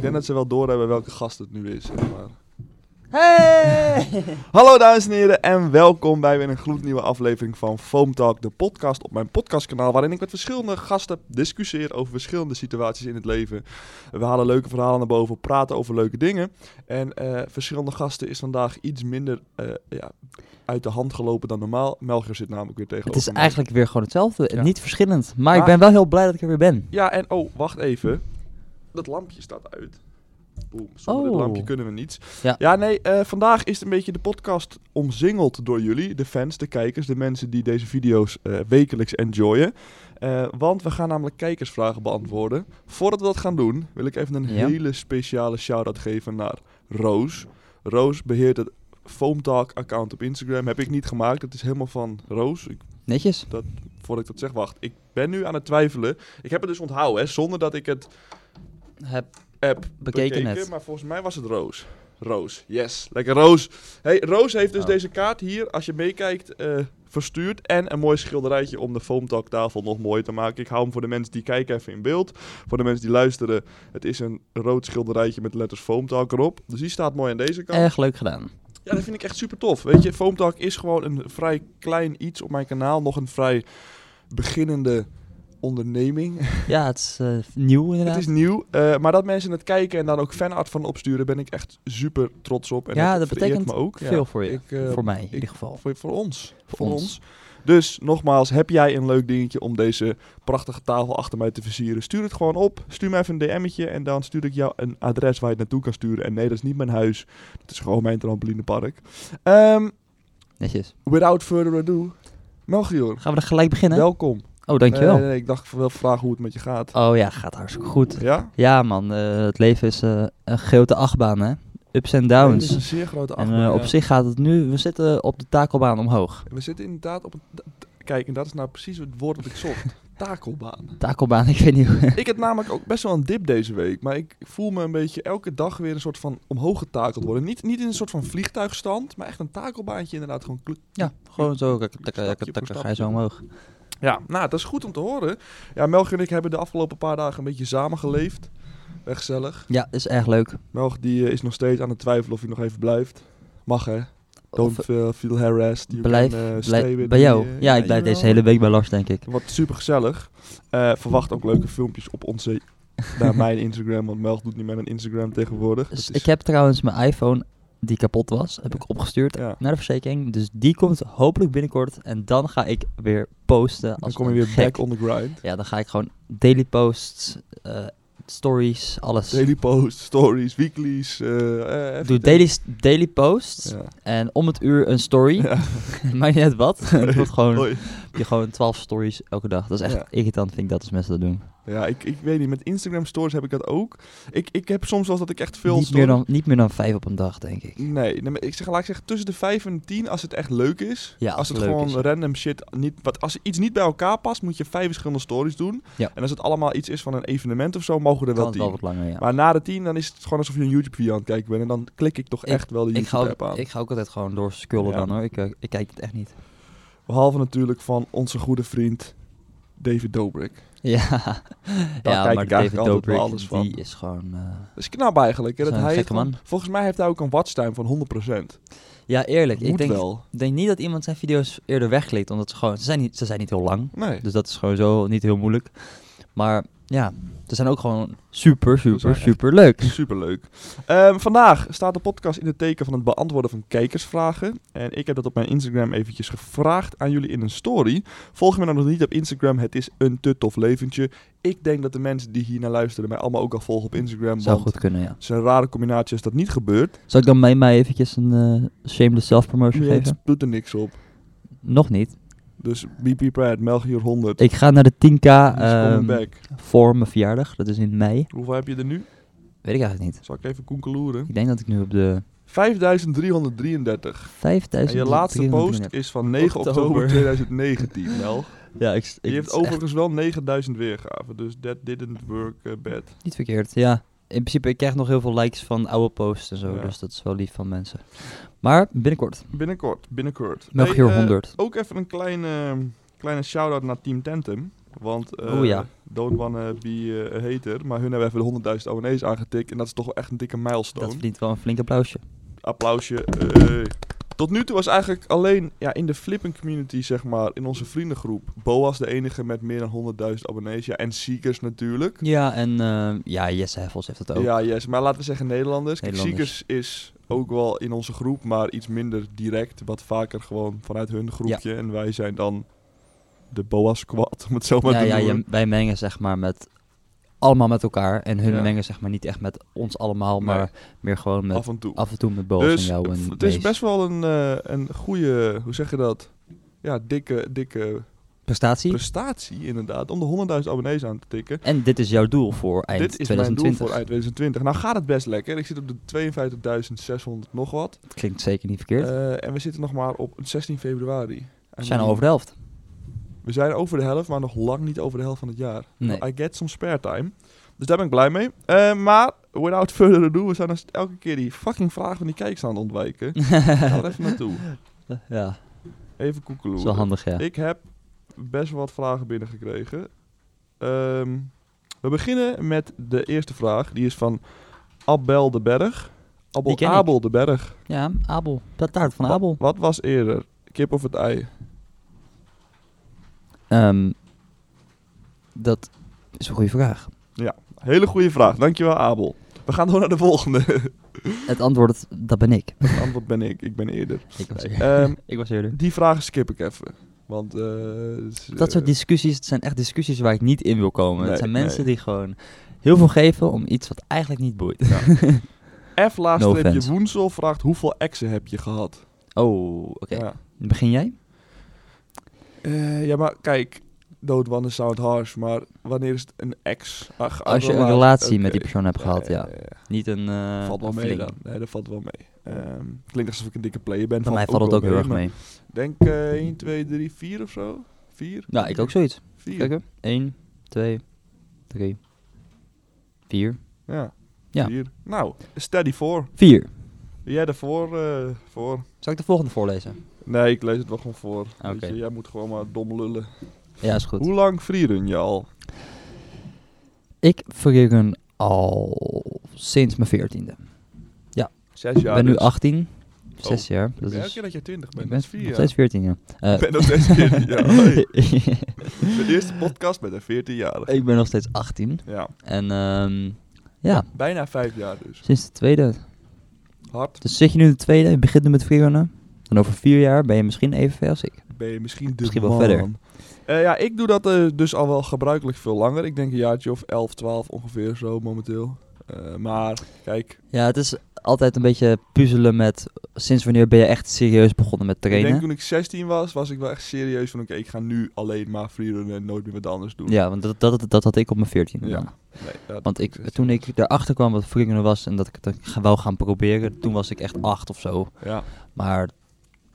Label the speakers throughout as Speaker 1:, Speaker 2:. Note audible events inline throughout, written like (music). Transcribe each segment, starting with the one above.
Speaker 1: denk dat ze wel doorhebben welke gast het nu is. Zeg maar.
Speaker 2: Hey!
Speaker 1: Hallo dames en heren en welkom bij weer een gloednieuwe aflevering van Foam Talk, de podcast op mijn podcastkanaal waarin ik met verschillende gasten discussieer over verschillende situaties in het leven. We halen leuke verhalen naar boven, praten over leuke dingen en eh, verschillende gasten is vandaag iets minder eh, ja, uit de hand gelopen dan normaal. Melger zit namelijk weer
Speaker 2: Het
Speaker 1: tegenover
Speaker 2: is
Speaker 1: mij.
Speaker 2: eigenlijk weer gewoon hetzelfde.
Speaker 1: Ja.
Speaker 2: Niet verschillend. Maar ik
Speaker 1: Maar-
Speaker 2: ben wel heel blij dat ik er weer ben.
Speaker 1: Ja en oh, wacht even. Dat lampje staat uit. Boem, zonder dit
Speaker 2: Oh.
Speaker 1: lampje kunnen we niets.
Speaker 2: Ja.
Speaker 1: Ja, nee, eh, vandaag is het een beetje de podcast omzingeld door jullie, de fans, de kijkers, de mensen die deze video's eh, wekelijks enjoyen. Eh, want we gaan namelijk kijkersvragen beantwoorden. Voordat we dat gaan doen, wil ik even een
Speaker 2: Ja.
Speaker 1: hele speciale shout-out geven naar Roos. Roos beheert het Foam Talk account op Instagram. Heb ik niet gemaakt, dat is helemaal van Roos. Ik,
Speaker 2: Netjes.
Speaker 1: voordat ik dat zeg, wacht. Ik ben nu aan het twijfelen. Ik heb het dus onthouden, hè, zonder dat ik het
Speaker 2: Heb
Speaker 1: app
Speaker 2: Bekeken
Speaker 1: bekeken,
Speaker 2: net.
Speaker 1: maar volgens mij was het Roos. Roos, yes. Lekker Roos. Hey, Roos heeft dus
Speaker 2: Oh.
Speaker 1: deze kaart hier, als je meekijkt, eh, verstuurd. En een mooi schilderijtje om de foamtalk tafel nog mooier te maken. Ik hou hem voor de mensen die kijken even in beeld. Voor de mensen die luisteren, het is een rood schilderijtje met letters foamtalk erop. Dus die staat mooi aan deze kant.
Speaker 2: erg leuk gedaan.
Speaker 1: Ja, dat vind ik echt super tof. Weet je, Foam Talk is gewoon een vrij klein iets op mijn kanaal. Nog een vrij beginnende onderneming. (laughs)
Speaker 2: Ja, het is eh, nieuw inderdaad.
Speaker 1: Het is nieuw, eh, maar dat mensen het kijken en daar ook fanart van opsturen, ben ik echt super trots op. En
Speaker 2: Ja,
Speaker 1: het
Speaker 2: dat
Speaker 1: vereert
Speaker 2: betekent
Speaker 1: me ook. Ja,
Speaker 2: Veel voor je.
Speaker 1: ik, eh,
Speaker 2: voor mij in
Speaker 1: ik-
Speaker 2: ieder geval.
Speaker 1: voor, voor ons. Voor, ons.
Speaker 2: ons.
Speaker 1: Dus nogmaals, heb jij een leuk dingetje om deze prachtige tafel achter mij te versieren? Stuur het gewoon op. Stuur me even een DM'tje en dan stuur ik jou een adres waar je het naartoe kan sturen. En nee, dat is niet mijn huis. Dat is gewoon mijn trampolinepark. Ehm,
Speaker 2: Netjes.
Speaker 1: without further ado, Melchior,
Speaker 2: Gaan we dan gelijk beginnen?
Speaker 1: welkom.
Speaker 2: Oh, dankjewel.
Speaker 1: Eh, ik dacht wel vragen hoe het met je gaat.
Speaker 2: Oh ja, gaat hartstikke goed.
Speaker 1: Ja?
Speaker 2: Ja man, eh, het leven is eh, een grote achtbaan hè. Ups en
Speaker 1: Het
Speaker 2: downs.
Speaker 1: is een zeer grote
Speaker 2: en
Speaker 1: achtbaan,
Speaker 2: eh, op
Speaker 1: ja.
Speaker 2: zich gaat het nu, we zitten op de takelbaan omhoog.
Speaker 1: We zitten inderdaad op een... ta- ta- Kijk, en dat is nou precies het woord dat ik zocht.
Speaker 2: (laughs)
Speaker 1: Takelbaan.
Speaker 2: Takelbaan, (laughs) ik weet niet hoe.
Speaker 1: Ik heb namelijk ook best wel een dip deze week. Maar ik voel me een beetje elke dag weer een soort van omhoog getakeld worden. Niet, niet in een soort van vliegtuigstand, maar echt een takelbaantje inderdaad. Gewoon kluk-
Speaker 2: ja, gewoon zo, kak, tak,
Speaker 1: Stapje
Speaker 2: tak,
Speaker 1: voor
Speaker 2: tak, ga
Speaker 1: stapje.
Speaker 2: je zo omhoog.
Speaker 1: Ja, nou, dat is goed om te horen. Ja, Melg en ik hebben de afgelopen paar dagen een beetje samengeleefd. Echt gezellig.
Speaker 2: Ja, is erg leuk.
Speaker 1: Melg die eh, is nog steeds aan het twijfelen of hij nog even blijft. Mag hè?
Speaker 2: Of- eh,
Speaker 1: Don't feel, feel harassed. You
Speaker 2: Blijf-
Speaker 1: can, eh, stay
Speaker 2: Blij-
Speaker 1: with
Speaker 2: bij
Speaker 1: me,
Speaker 2: jou?
Speaker 1: eh,
Speaker 2: ja, ik blijf
Speaker 1: jawel.
Speaker 2: deze hele week bij Lars, denk ik.
Speaker 1: Het wordt super gezellig. verwacht ook leuke filmpjes op onze. Naar
Speaker 2: (laughs)
Speaker 1: mijn Instagram, want Melg doet niet meer een Instagram tegenwoordig. Dat
Speaker 2: Dus
Speaker 1: is-
Speaker 2: ik heb trouwens mijn iPhone, die kapot was, heb ik opgestuurd
Speaker 1: Ja.
Speaker 2: naar de verzekering. Dus die komt hopelijk binnenkort en dan ga ik weer posten. Als
Speaker 1: dan kom je
Speaker 2: een
Speaker 1: weer
Speaker 2: gek.
Speaker 1: back on the grind.
Speaker 2: Ja, dan ga ik gewoon daily posts, eh, stories, alles.
Speaker 1: Daily posts, stories, weeklies. eh, eh,
Speaker 2: Doe
Speaker 1: everything.
Speaker 2: daily, daily posts
Speaker 1: Ja.
Speaker 2: en om het uur een story.
Speaker 1: Ja.
Speaker 2: (laughs) Maakt niet uit wat.
Speaker 1: (laughs)
Speaker 2: Het wordt gewoon,
Speaker 1: (laughs) Hoi.
Speaker 2: je gewoon 12 stories elke dag. Dat is echt
Speaker 1: Ja.
Speaker 2: irritant, vind ik dat als mensen dat doen.
Speaker 1: Ja, ik, ik weet niet. Met Instagram stories heb ik dat ook. Ik, ik heb soms wel eens dat ik echt veel
Speaker 2: niet,
Speaker 1: story-
Speaker 2: meer dan, niet meer dan vijf op een dag, denk ik.
Speaker 1: Nee, nee, maar ik zeg, laat ik zeggen, tussen de 5 en 10 als het echt leuk is.
Speaker 2: Ja,
Speaker 1: als
Speaker 2: als
Speaker 1: het
Speaker 2: het leuk
Speaker 1: gewoon
Speaker 2: is.
Speaker 1: random shit. Niet, wat, als iets niet bij elkaar past, moet je vijf verschillende stories doen.
Speaker 2: Ja.
Speaker 1: En als het allemaal iets is van een evenement of zo, mogen er
Speaker 2: Kan
Speaker 1: wel
Speaker 2: het
Speaker 1: tien.
Speaker 2: wel wat langer, ja.
Speaker 1: Maar na de 10 dan is het gewoon alsof je een YouTube video aan het kijken bent. En dan klik ik toch
Speaker 2: Ik-
Speaker 1: echt wel de
Speaker 2: Ik ga,
Speaker 1: YouTube app
Speaker 2: ook,
Speaker 1: aan.
Speaker 2: ik ga ook altijd gewoon doorscrollen
Speaker 1: Ja.
Speaker 2: dan hoor. Ik, eh, ik kijk het echt
Speaker 1: (laughs)
Speaker 2: niet.
Speaker 1: Behalve natuurlijk van onze goede vriend David Dobrik.
Speaker 2: Ja, ja
Speaker 1: kijk
Speaker 2: maar
Speaker 1: ik eigenlijk
Speaker 2: de
Speaker 1: altijd
Speaker 2: David
Speaker 1: wel
Speaker 2: Dobrik,
Speaker 1: alles van.
Speaker 2: die is gewoon... eh,
Speaker 1: Dat is knap eigenlijk. Hè? Dat
Speaker 2: Zo'n
Speaker 1: hij
Speaker 2: gekke
Speaker 1: gewoon-
Speaker 2: man.
Speaker 1: Volgens mij heeft hij ook een watchtime van 100%.
Speaker 2: Ja, eerlijk.
Speaker 1: Moet
Speaker 2: Ik denk,
Speaker 1: wel.
Speaker 2: denk niet dat iemand zijn video's eerder wegklikt, omdat ze gewoon... Ze zijn, niet, ze zijn niet heel lang,
Speaker 1: Nee.
Speaker 2: dus dat is gewoon zo niet heel moeilijk. Maar ja, ze zijn ook gewoon super,
Speaker 1: zijn
Speaker 2: super,
Speaker 1: echt-
Speaker 2: super leuk.
Speaker 1: (laughs) Superleuk. Ehm, vandaag staat de podcast in het teken van het beantwoorden van kijkersvragen. En ik heb dat op mijn Instagram eventjes gevraagd aan jullie in een story. Volg me nou nog niet op Instagram. Het is een te tof leventje. Ik denk dat de mensen die hier naar luisteren mij allemaal ook al volgen op Instagram.
Speaker 2: Zou
Speaker 1: want
Speaker 2: goed kunnen, ja.
Speaker 1: Het is een rare combinatie als dat niet gebeurt.
Speaker 2: Zal ik dan mij, mij eventjes een eh shameless self-promotion
Speaker 1: Nee, het
Speaker 2: geven?
Speaker 1: doet er niks op.
Speaker 2: Nog niet.
Speaker 1: Dus BP Pride, Melchior 100.
Speaker 2: Ik ga naar de 10k
Speaker 1: He's coming
Speaker 2: ehm,
Speaker 1: back.
Speaker 2: voor mijn verjaardag. Dat is in mei.
Speaker 1: Hoeveel heb je er nu?
Speaker 2: Weet ik eigenlijk niet.
Speaker 1: Zal ik even koekeloeren?
Speaker 2: Ik denk dat ik nu op de
Speaker 1: 5333.
Speaker 2: 5000...
Speaker 1: En je laatste post is van 9 oktober,
Speaker 2: Oktober.
Speaker 1: 2019, Mel.
Speaker 2: Ja, ik, ik,
Speaker 1: Die
Speaker 2: het
Speaker 1: heeft
Speaker 2: is echt
Speaker 1: overigens wel 9000 weergaven, dus that didn't work eh, bad.
Speaker 2: Niet verkeerd, ja. In principe, ik krijg nog heel veel likes van oude posts en zo,
Speaker 1: Ja.
Speaker 2: dus dat is wel lief van mensen. Maar binnenkort,
Speaker 1: Binnenkort, binnenkort.
Speaker 2: Melchior
Speaker 1: Hey, eh,
Speaker 2: 100.
Speaker 1: ook even een kleine, kleine shout-out naar Team Tentum. Want eh
Speaker 2: Oeh, Oh ja.
Speaker 1: don't wanna be eh, a hater. Maar hun hebben even de 100.000 abonnees aangetikt. En dat is toch wel echt een dikke milestone.
Speaker 2: Dat verdient wel een flink applausje.
Speaker 1: Applausje. eh. Tot nu toe was eigenlijk alleen ja, in de flipping community, zeg maar, in onze vriendengroep. Boas de enige met meer dan 100.000 abonnees. Ja, en Seekers natuurlijk.
Speaker 2: Ja, en eh, ja, Jesse Heffels heeft het ook.
Speaker 1: Ja, yes. Maar laten we zeggen Nederlanders. Kijk,
Speaker 2: Nederlanders.
Speaker 1: Seekers is ook wel in onze groep, maar iets minder direct. Wat vaker gewoon vanuit hun groepje. En wij zijn dan de Boas squad, (laughs) om het zo maar
Speaker 2: ja,
Speaker 1: te
Speaker 2: ja,
Speaker 1: noemen.
Speaker 2: je- wij mengen zeg maar met allemaal met elkaar. En hun
Speaker 1: Ja.
Speaker 2: mengen zeg maar niet echt met ons allemaal, maar meer gewoon met, af,
Speaker 1: af en toe.
Speaker 2: en toe met Boos
Speaker 1: dus
Speaker 2: en jou. En
Speaker 1: v- het is
Speaker 2: Mees.
Speaker 1: best wel een, eh, een goede, hoe zeg je dat? Ja, dikke, dikke
Speaker 2: prestatie.
Speaker 1: prestatie inderdaad. Om de 100.000 abonnees aan te tikken.
Speaker 2: en dit is jouw doel voor eind
Speaker 1: Dit is
Speaker 2: 2020.
Speaker 1: mijn doel voor eind 2020. Nou gaat het best lekker. Ik zit op de 52.600 nog wat.
Speaker 2: Dat klinkt zeker niet verkeerd.
Speaker 1: Eh, en we zitten nog maar op 16 februari.
Speaker 2: we zijn al over de helft.
Speaker 1: We zijn over de helft, maar nog lang niet over de helft van het jaar. Nou,
Speaker 2: Nee.
Speaker 1: I get some spare time. Dus daar ben ik blij mee. Eh, maar, without further ado, we zijn dus elke keer die fucking vraag van die kijkers aan het
Speaker 2: (laughs)
Speaker 1: ontwijken. Ga er even naartoe.
Speaker 2: ja,
Speaker 1: Even koekeloeren.
Speaker 2: is wel handig, ja.
Speaker 1: Ik heb best wel wat vragen binnengekregen. Ehm, we beginnen met de eerste vraag. Die is van Abel de Berg. Abel,
Speaker 2: Die ken ik.
Speaker 1: Abel de Berg.
Speaker 2: Ja, Abel. Dat taart van
Speaker 1: Wa-
Speaker 2: Abel.
Speaker 1: Wat, was eerder? Kip of het ei?
Speaker 2: Ehm, dat is een goede vraag.
Speaker 1: Hele goede vraag. Dankjewel, Abel. We gaan door naar de volgende.
Speaker 2: Het antwoord, dat ben (laughs) ik.
Speaker 1: Het (laughs) antwoord ben ik. Ik ben eerder.
Speaker 2: Ik was,
Speaker 1: Ehm,
Speaker 2: ik was eerder.
Speaker 1: die vragen skip ik even. Want, eh, het is,
Speaker 2: Dat
Speaker 1: eh,
Speaker 2: soort discussies, het zijn echt discussies waar ik niet in wil komen.
Speaker 1: Nee,
Speaker 2: het zijn
Speaker 1: nee.
Speaker 2: mensen die gewoon heel veel geven om iets wat eigenlijk niet boeit.
Speaker 1: eh, F laagstreepje
Speaker 2: No offense.
Speaker 1: Woensel vraagt hoeveel exen heb je gehad?
Speaker 2: (laughs) Oh, oké.
Speaker 1: Ja.
Speaker 2: Begin jij?
Speaker 1: Eh, ja, maar kijk, doodwannen sound harsh, maar wanneer is het een ex? Ach,
Speaker 2: Als je een
Speaker 1: rela-
Speaker 2: relatie met
Speaker 1: oké.
Speaker 2: die persoon hebt gehad, ja. Niet een... eh,
Speaker 1: valt wel
Speaker 2: een
Speaker 1: mee
Speaker 2: flink.
Speaker 1: dan. Nee, dat valt wel mee. Ehm, klinkt alsof ik een dikke player ben.
Speaker 2: Bij mij valt het ook heel erg
Speaker 1: maar
Speaker 2: mee.
Speaker 1: ik Denk eh 1, 2, 3, 4 of zo? 4?
Speaker 2: Nou, ik ook zoiets.
Speaker 1: 4.
Speaker 2: Kijken. 1, 2, 3, 4.
Speaker 1: Ja.
Speaker 2: Ja.
Speaker 1: Vier. Nou, steady 4.
Speaker 2: 4.
Speaker 1: Jij daarvoor? eh, voor?
Speaker 2: Zal ik de volgende voorlezen?
Speaker 1: Nee, ik lees het wel gewoon voor. Weet
Speaker 2: Oké.
Speaker 1: je, jij moet gewoon maar dom lullen.
Speaker 2: Ja, is goed.
Speaker 1: Hoe lang freerun je al?
Speaker 2: Ik verreken al sinds mijn veertiende.
Speaker 1: Zes
Speaker 2: Ik
Speaker 1: jaar.
Speaker 2: ben nu
Speaker 1: dus.
Speaker 2: 18. Zes jaar. Dat
Speaker 1: Elke
Speaker 2: is,
Speaker 1: keer dat jij 20
Speaker 2: ik
Speaker 1: bent,
Speaker 2: ben
Speaker 1: dat is vier
Speaker 2: nog
Speaker 1: jaar.
Speaker 2: steeds 14, ja. Eh,
Speaker 1: Ik ben nog steeds 14 jaar.
Speaker 2: (laughs)
Speaker 1: Hoi. De eerste podcast met een 14-jarige.
Speaker 2: ik ben nog steeds 18.
Speaker 1: Ja,
Speaker 2: En ehm, ja,
Speaker 1: bijna vijf jaar dus.
Speaker 2: sinds de tweede.
Speaker 1: Hard
Speaker 2: Dus zit je nu in de tweede, je begint nu met freerunnen. Dan over vier jaar ben je misschien even ver als ik.
Speaker 1: ben je misschien de
Speaker 2: Misschien wel
Speaker 1: man.
Speaker 2: verder.
Speaker 1: Eh, ja, ik doe dat eh, dus al wel gebruikelijk veel langer. Ik denk een jaartje of 11, 12 ongeveer zo momenteel. Eh, maar kijk,
Speaker 2: Ja, het is altijd een beetje puzzelen met sinds wanneer ben je echt serieus begonnen met
Speaker 1: ik denk
Speaker 2: trainen.
Speaker 1: toen ik 16 was, was ik wel echt serieus van oké, ik ga nu alleen maar freerunnen en nooit meer wat anders doen.
Speaker 2: Ja, want dat, dat, dat had ik op mijn veertiende.
Speaker 1: Ja.
Speaker 2: Ja.
Speaker 1: Nee, dat-
Speaker 2: Want ik, toen ik erachter kwam wat freerunnen was en dat ik het dan ga- wou gaan proberen, toen was ik
Speaker 1: Mm.
Speaker 2: echt acht of zo.
Speaker 1: Ja,
Speaker 2: Maar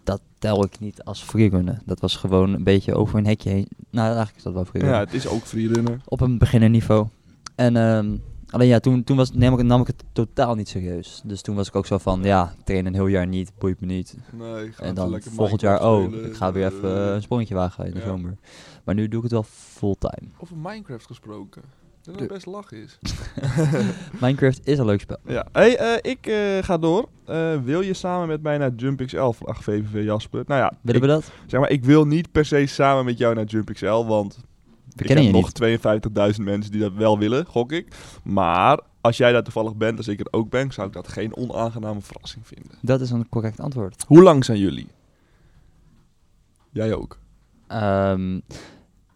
Speaker 2: dat tel ik niet als freerunnen. Dat was gewoon een beetje over een hekje heen. Nou, eigenlijk is dat wel freerunnen.
Speaker 1: ja het is ook freerunnen.
Speaker 2: op een beginnerniveau. En ehm, alleen ja, toen, toen was, nam, ik, nam ik het totaal niet serieus. Dus toen was ik ook zo van, ja, trainen een heel jaar niet, boeit me niet.
Speaker 1: Nee, ik ga
Speaker 2: en
Speaker 1: even
Speaker 2: dan
Speaker 1: lekker
Speaker 2: volgend jaar,
Speaker 1: Minecraft
Speaker 2: oh,
Speaker 1: spelen.
Speaker 2: ik ga weer even eh, een sprongetje wagen in de
Speaker 1: Ja.
Speaker 2: zomer. Maar nu doe ik het wel fulltime.
Speaker 1: Over Minecraft gesproken. Dat
Speaker 2: De-
Speaker 1: het best lach is.
Speaker 2: Minecraft is een leuk spel.
Speaker 1: (laughs) Ja, hey, eh, ik eh, ga door. Eh, wil je samen met mij naar Jump XL? Vraagt VVV Jasper. Nou ja,
Speaker 2: Willen
Speaker 1: ik,
Speaker 2: we dat?
Speaker 1: zeg maar, ik wil niet per se samen met jou naar Jump XL, want
Speaker 2: We
Speaker 1: ik
Speaker 2: kennen je
Speaker 1: heb
Speaker 2: niet.
Speaker 1: nog 52.000 mensen die dat wel willen, gok ik. Maar als jij daar toevallig bent, als ik er ook ben, zou ik dat geen onaangename verrassing vinden.
Speaker 2: Dat is een correct antwoord.
Speaker 1: Hoe lang zijn jullie? Jij ook.
Speaker 2: Ehm,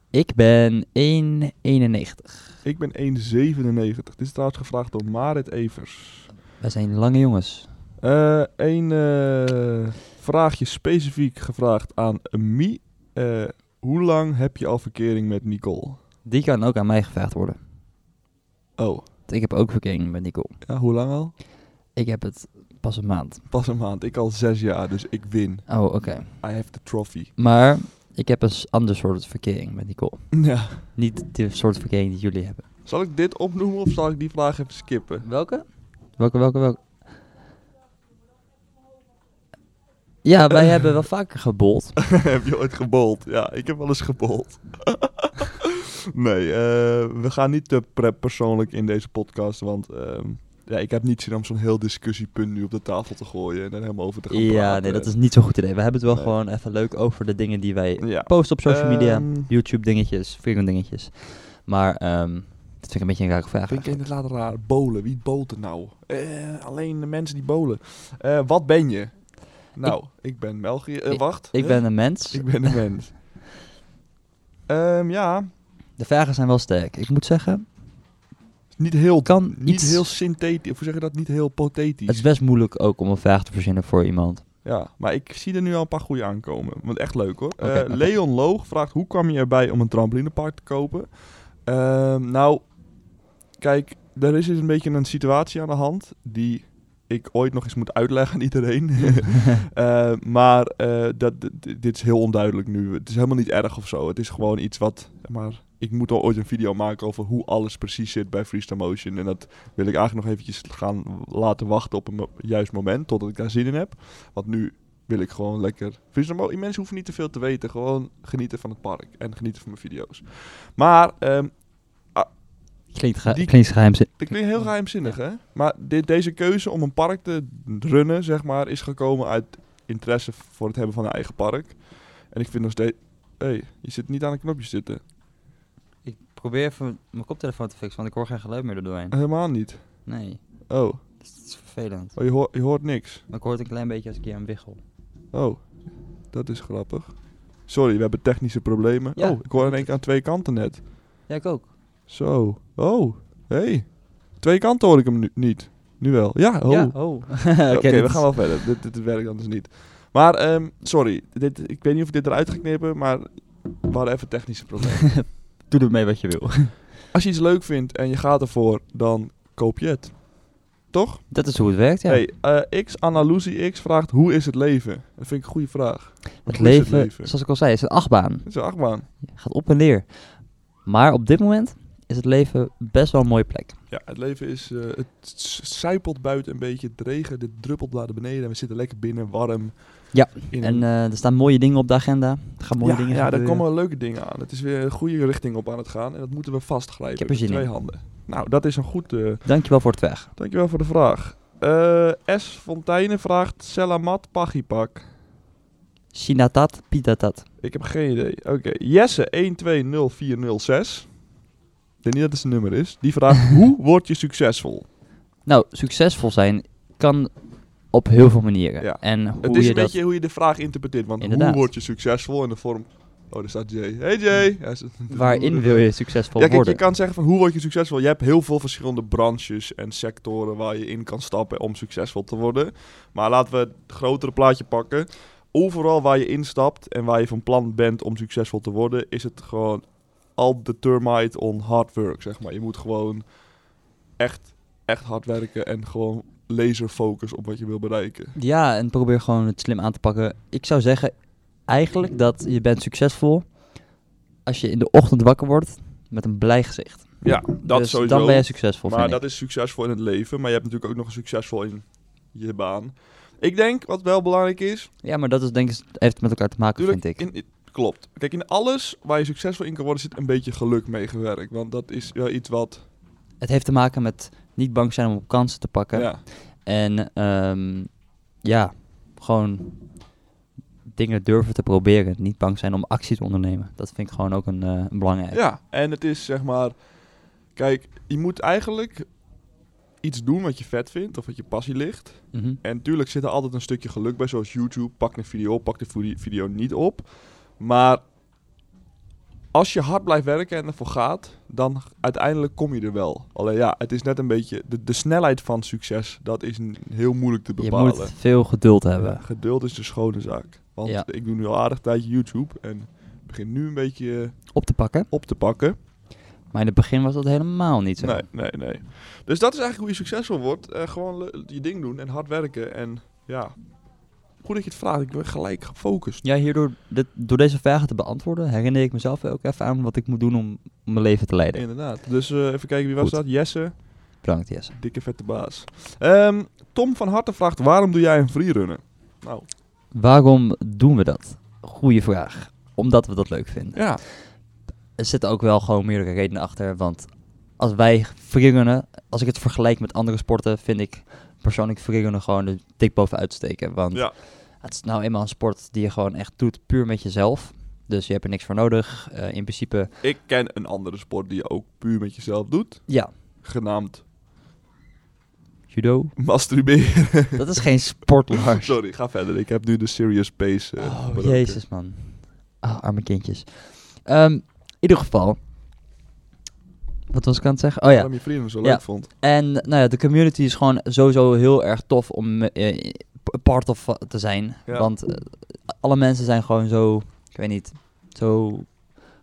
Speaker 2: ik ben 1,91.
Speaker 1: Ik ben 1,97. Dit is trouwens gevraagd door Marit Evers.
Speaker 2: Wij zijn lange jongens.
Speaker 1: Eén eh, vraagje specifiek gevraagd aan Mie. Eh, hoe lang heb je al verkering met Nicole?
Speaker 2: Die kan ook aan mij gevraagd worden.
Speaker 1: Oh,
Speaker 2: Want Ik heb ook verkering met Nicole.
Speaker 1: ja, hoe lang al?
Speaker 2: Ik heb het pas een maand.
Speaker 1: Pas een maand. Ik al zes jaar, dus ik win.
Speaker 2: Oh, oké.
Speaker 1: I have the trophy. (laughs)
Speaker 2: Maar ik heb een s- ander soort verkering met Nicole.
Speaker 1: Ja.
Speaker 2: Niet de soort verkering die jullie hebben.
Speaker 1: Zal ik dit opnoemen of zal ik die vraag even skippen?
Speaker 2: Welke? Welke, welke, welke? Ja, wij (laughs)
Speaker 1: (laughs)
Speaker 2: hebben wel vaker gebold.
Speaker 1: heb je ooit gebold? Ja, ik heb wel eens gebold. (laughs) Nee, eh, we gaan niet te pre- persoonlijk in deze podcast, want ehm, ja, ik heb niet zin om zo'n heel discussiepunt nu op de tafel te gooien en er helemaal over te gaan
Speaker 2: Ja,
Speaker 1: praten.
Speaker 2: nee, dat is niet zo'n goed idee. We hebben het
Speaker 1: Nee.
Speaker 2: wel gewoon even leuk over de dingen die wij
Speaker 1: Ja.
Speaker 2: posten op social media.
Speaker 1: Ehm,
Speaker 2: YouTube dingetjes, frequent dingetjes. Maar ehm, dat vind ik een beetje een rare vraag.
Speaker 1: Vind ik
Speaker 2: eigenlijk.
Speaker 1: inderdaad raar. Bolen. Wie bolt er nou? Eh, alleen de mensen die bolen. Eh, wat ben je? Nou, ik, ben België. eh,
Speaker 2: Ik-
Speaker 1: wacht.
Speaker 2: Ik
Speaker 1: Huh?
Speaker 2: ben een mens.
Speaker 1: Ik ben een
Speaker 2: (laughs)
Speaker 1: mens. Ehm, ja,
Speaker 2: De vragen zijn wel sterk. Ik moet zeggen,
Speaker 1: niet heel,
Speaker 2: Kan
Speaker 1: niet
Speaker 2: iets-
Speaker 1: heel synthetisch. Of hoe zeg je dat? Niet heel
Speaker 2: het
Speaker 1: pothetisch.
Speaker 2: is best moeilijk ook om een vraag te verzinnen voor iemand.
Speaker 1: Ja, maar ik zie er nu al een paar goede aankomen. Want echt leuk hoor.
Speaker 2: Oké,
Speaker 1: Eh,
Speaker 2: oké.
Speaker 1: Leon Loog vraagt: hoe kwam je erbij om een trampolinepark te kopen? Ehm, nou, kijk, er is dus een beetje een situatie aan de hand die ik ooit nog eens moet uitleggen aan
Speaker 2: (laughs)
Speaker 1: iedereen. Eh, maar eh, dat, dit- dit is heel onduidelijk nu. Het is helemaal niet erg of zo. Het is gewoon iets wat. Maar ik moet al ooit een video maken over hoe alles precies zit bij Freestyle Motion. En dat wil ik eigenlijk nog eventjes gaan laten wachten op een mo- juist moment. Totdat ik daar zin in heb. Want nu wil ik gewoon lekker. Freestyle Motion. Mensen hoeven niet te veel te weten. Gewoon genieten van het park. En genieten van mijn video's. Maar ehm,
Speaker 2: Klinkt, ge-
Speaker 1: Die-
Speaker 2: klinkt geheimzinnig.
Speaker 1: ik klinkt heel geheimzinnig, hè? Maar dit, deze keuze om een park te runnen, zeg maar, is gekomen uit interesse voor het hebben van een eigen park. En ik vind nog steeds... Hé, hey, je zit niet aan een knopje zitten.
Speaker 2: Ik probeer even mijn koptelefoon te fixen, want ik hoor geen geluid meer erdoorheen.
Speaker 1: Helemaal niet.
Speaker 2: Nee,
Speaker 1: Oh,
Speaker 2: dat is vervelend.
Speaker 1: oh je, hoort, je hoort niks.
Speaker 2: Maar ik hoor het een klein beetje als ik hier aan wiggel.
Speaker 1: Oh, dat is grappig. Sorry, we hebben technische problemen.
Speaker 2: Ja.
Speaker 1: Oh, ik hoor in één keer aan twee kanten net.
Speaker 2: Ja, ik ook.
Speaker 1: Zo. Oh, hé. Hey. Twee kanten hoor ik hem nu niet. Nu wel. Ja, oh.
Speaker 2: Ja, (laughs) oh. Oké,
Speaker 1: Oké,
Speaker 2: dit
Speaker 1: we
Speaker 2: is-
Speaker 1: gaan wel verder. Dit, dit werkt anders niet. Maar, ehm, sorry. Dit, ik weet niet of ik dit eruit ga knippen, maar we hadden even technische (laughs) problemen.
Speaker 2: Doe ermee wat je wil.
Speaker 1: Als je iets leuk vindt en je gaat ervoor, dan koop je het. Toch?
Speaker 2: (laughs) Dat is hoe het werkt, ja.
Speaker 1: Hey, eh, X, Analusie X vraagt, hoe is het leven? Dat vind ik een goede vraag.
Speaker 2: het,
Speaker 1: hoe is
Speaker 2: leven,
Speaker 1: het leven?
Speaker 2: zoals ik al zei, is een achtbaan.
Speaker 1: Dat is een achtbaan.
Speaker 2: Gaat op en neer. Maar op dit moment is het leven best wel een mooie plek.
Speaker 1: Ja, het leven is, eh, het s- sijpelt buiten een beetje, het regen, dit druppelt naar de beneden en we zitten lekker binnen, warm.
Speaker 2: Ja,
Speaker 1: in
Speaker 2: En
Speaker 1: een-
Speaker 2: eh, er staan mooie dingen op de agenda. Er gaan mooie
Speaker 1: ja,
Speaker 2: dingen
Speaker 1: ja, daar
Speaker 2: gebeuren.
Speaker 1: komen wel leuke dingen aan. Het is weer een goede richting op aan het gaan. En dat moeten we vastgrijpen.
Speaker 2: Ik heb er
Speaker 1: met
Speaker 2: zin
Speaker 1: twee
Speaker 2: in.
Speaker 1: handen. Nou, dat is een goed... eh,
Speaker 2: Dankjewel voor het weg.
Speaker 1: dankjewel voor de vraag. Eh, S. Fonteinen vraagt... Selamat Pagipak.
Speaker 2: Sinatat, pitatat.
Speaker 1: Ik heb geen idee. Oké. Jesse 120406. Ik denk niet dat het zijn nummer is. Die
Speaker 2: (laughs)
Speaker 1: vraagt... hoe word je succesvol?
Speaker 2: Nou, succesvol zijn kan op heel veel manieren.
Speaker 1: Ja.
Speaker 2: En hoe
Speaker 1: het is
Speaker 2: je
Speaker 1: een
Speaker 2: dat...
Speaker 1: beetje hoe je de vraag interpreteert. Want
Speaker 2: Inderdaad.
Speaker 1: hoe word je succesvol in de vorm... Oh, daar staat Jay. Hey Jay! Ja, ze-
Speaker 2: Waarin wil je succesvol
Speaker 1: Ja, kijk,
Speaker 2: worden?
Speaker 1: je kan zeggen van hoe word je succesvol? Je hebt heel veel verschillende branches en sectoren waar je in kan stappen om succesvol te worden. Maar laten we het grotere plaatje pakken. Overal waar je instapt en waar je van plan bent om succesvol te worden, is het gewoon all the termite on hard work, zeg maar. Je moet gewoon echt, echt hard werken en gewoon laser focus op wat je wil bereiken.
Speaker 2: Ja, en probeer gewoon het slim aan te pakken. Ik zou zeggen eigenlijk dat je bent succesvol als je in de ochtend wakker wordt met een blij gezicht.
Speaker 1: Ja, dat
Speaker 2: dus
Speaker 1: sowieso.
Speaker 2: dan ben je succesvol,
Speaker 1: Maar
Speaker 2: vind
Speaker 1: dat is succesvol in het leven, maar je hebt natuurlijk ook nog een succesvol in je baan. Ik denk, wat wel belangrijk is,
Speaker 2: ik. Ja, maar dat is denk ik, heeft met elkaar te maken,
Speaker 1: Tuurlijk,
Speaker 2: vind ik.
Speaker 1: in- in- klopt. Kijk, in alles waar je succesvol in kan worden, zit een beetje geluk meegewerkt. Want dat is wel iets wat.
Speaker 2: Het heeft te maken met niet bang zijn om op kansen te pakken.
Speaker 1: Ja,
Speaker 2: En ehm, ja, gewoon dingen durven te proberen. Niet bang zijn om actie te ondernemen. Dat vind ik gewoon ook een, eh, een belangrijk.
Speaker 1: ja, en het is zeg maar. Kijk, je moet eigenlijk iets doen wat je vet vindt of wat je passie ligt.
Speaker 2: Mhm.
Speaker 1: En tuurlijk zit er altijd een stukje geluk bij, zoals YouTube. Pak een video op, pak de vo- video niet op. Maar als je hard blijft werken en ervoor gaat, dan uiteindelijk kom je er wel. Alleen ja, het is net een beetje... De, de snelheid van succes, dat is n- heel moeilijk te
Speaker 2: Je
Speaker 1: bepalen.
Speaker 2: moet veel geduld hebben.
Speaker 1: Ja, geduld is de schone zaak. Want
Speaker 2: Ja.
Speaker 1: ik doe nu al aardig tijdje YouTube en het begint nu een beetje eh,
Speaker 2: Op te pakken.
Speaker 1: op te pakken.
Speaker 2: Maar in het begin was dat helemaal niet zo.
Speaker 1: Nee, nee, nee. Dus dat is eigenlijk hoe je succesvol wordt. Eh, gewoon le- je ding doen en hard werken. En ja, goed dat je het vraagt. Ik ben gelijk gefocust.
Speaker 2: Ja, hierdoor dit, door deze vragen te beantwoorden, herinner ik mezelf ook even aan wat ik moet doen om mijn leven te leiden.
Speaker 1: Inderdaad. Dus eh, even kijken, wie was
Speaker 2: Goed.
Speaker 1: dat? Jesse,
Speaker 2: Bedankt, Jesse.
Speaker 1: dikke vette baas. Ehm, Tom van Harten vraagt, waarom doe jij een freerunnen? Nou,
Speaker 2: Waarom doen we dat? Goeie vraag. Omdat we dat leuk vinden.
Speaker 1: ja.
Speaker 2: er zitten ook wel gewoon meerdere redenen achter. Want als wij freerunnen, als ik het vergelijk met andere sporten, vind ik persoonlijk freerunnen gewoon er dik bovenuit steken. Want
Speaker 1: Ja.
Speaker 2: het is nou eenmaal een sport die je gewoon echt doet puur met jezelf. Dus je hebt er niks voor nodig. Eh, in principe,
Speaker 1: Ik ken een andere sport die je ook puur met jezelf doet,
Speaker 2: ja,
Speaker 1: genaamd
Speaker 2: judo.
Speaker 1: masturberen. (laughs)
Speaker 2: Dat is geen sport, Lars.
Speaker 1: Sorry, ga verder. Ik heb nu de serious pace. eh,
Speaker 2: Oh,
Speaker 1: gebroken.
Speaker 2: jezus man. Ah, arme kindjes. Ehm, in ieder geval. Wat was ik aan het zeggen? Oh ja.
Speaker 1: Waarom je vrienden zo
Speaker 2: Ja.
Speaker 1: leuk vond.
Speaker 2: En nou ja, de community is gewoon sowieso heel erg tof om eh, p- part of te zijn.
Speaker 1: Ja.
Speaker 2: Want eh, alle mensen zijn gewoon zo, ik weet niet, zo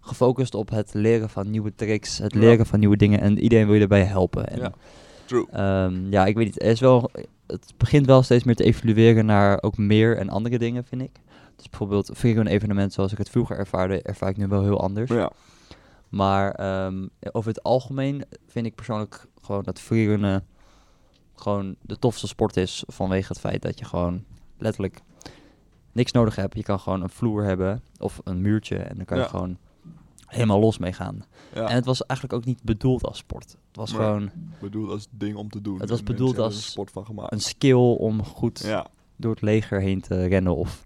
Speaker 2: gefocust op het leren van nieuwe tricks, het
Speaker 1: Ja.
Speaker 2: leren van nieuwe dingen. En iedereen wil je daarbij helpen. En
Speaker 1: Ja. True.
Speaker 2: Ehm, ja, ik weet niet. Er is wel, het begint wel steeds meer te evolueren naar ook meer en andere dingen, vind ik. Dus bijvoorbeeld frequent evenement zoals ik het vroeger ervaarde, ervaar ik nu wel heel anders.
Speaker 1: Ja.
Speaker 2: Maar ehm, over het algemeen vind ik persoonlijk gewoon dat freerunnen gewoon de tofste sport is vanwege het feit dat je gewoon letterlijk niks nodig hebt. Je kan gewoon een vloer hebben of een muurtje en dan kan
Speaker 1: Ja.
Speaker 2: je gewoon helemaal los mee gaan.
Speaker 1: ja.
Speaker 2: En het was eigenlijk ook niet bedoeld als sport. Het was
Speaker 1: Nee.
Speaker 2: gewoon
Speaker 1: bedoeld als ding om te doen.
Speaker 2: Het was
Speaker 1: En
Speaker 2: bedoeld
Speaker 1: mensen hebben er
Speaker 2: als
Speaker 1: een sport van gemaakt.
Speaker 2: een skill om goed
Speaker 1: Ja.
Speaker 2: door het leger heen te rennen of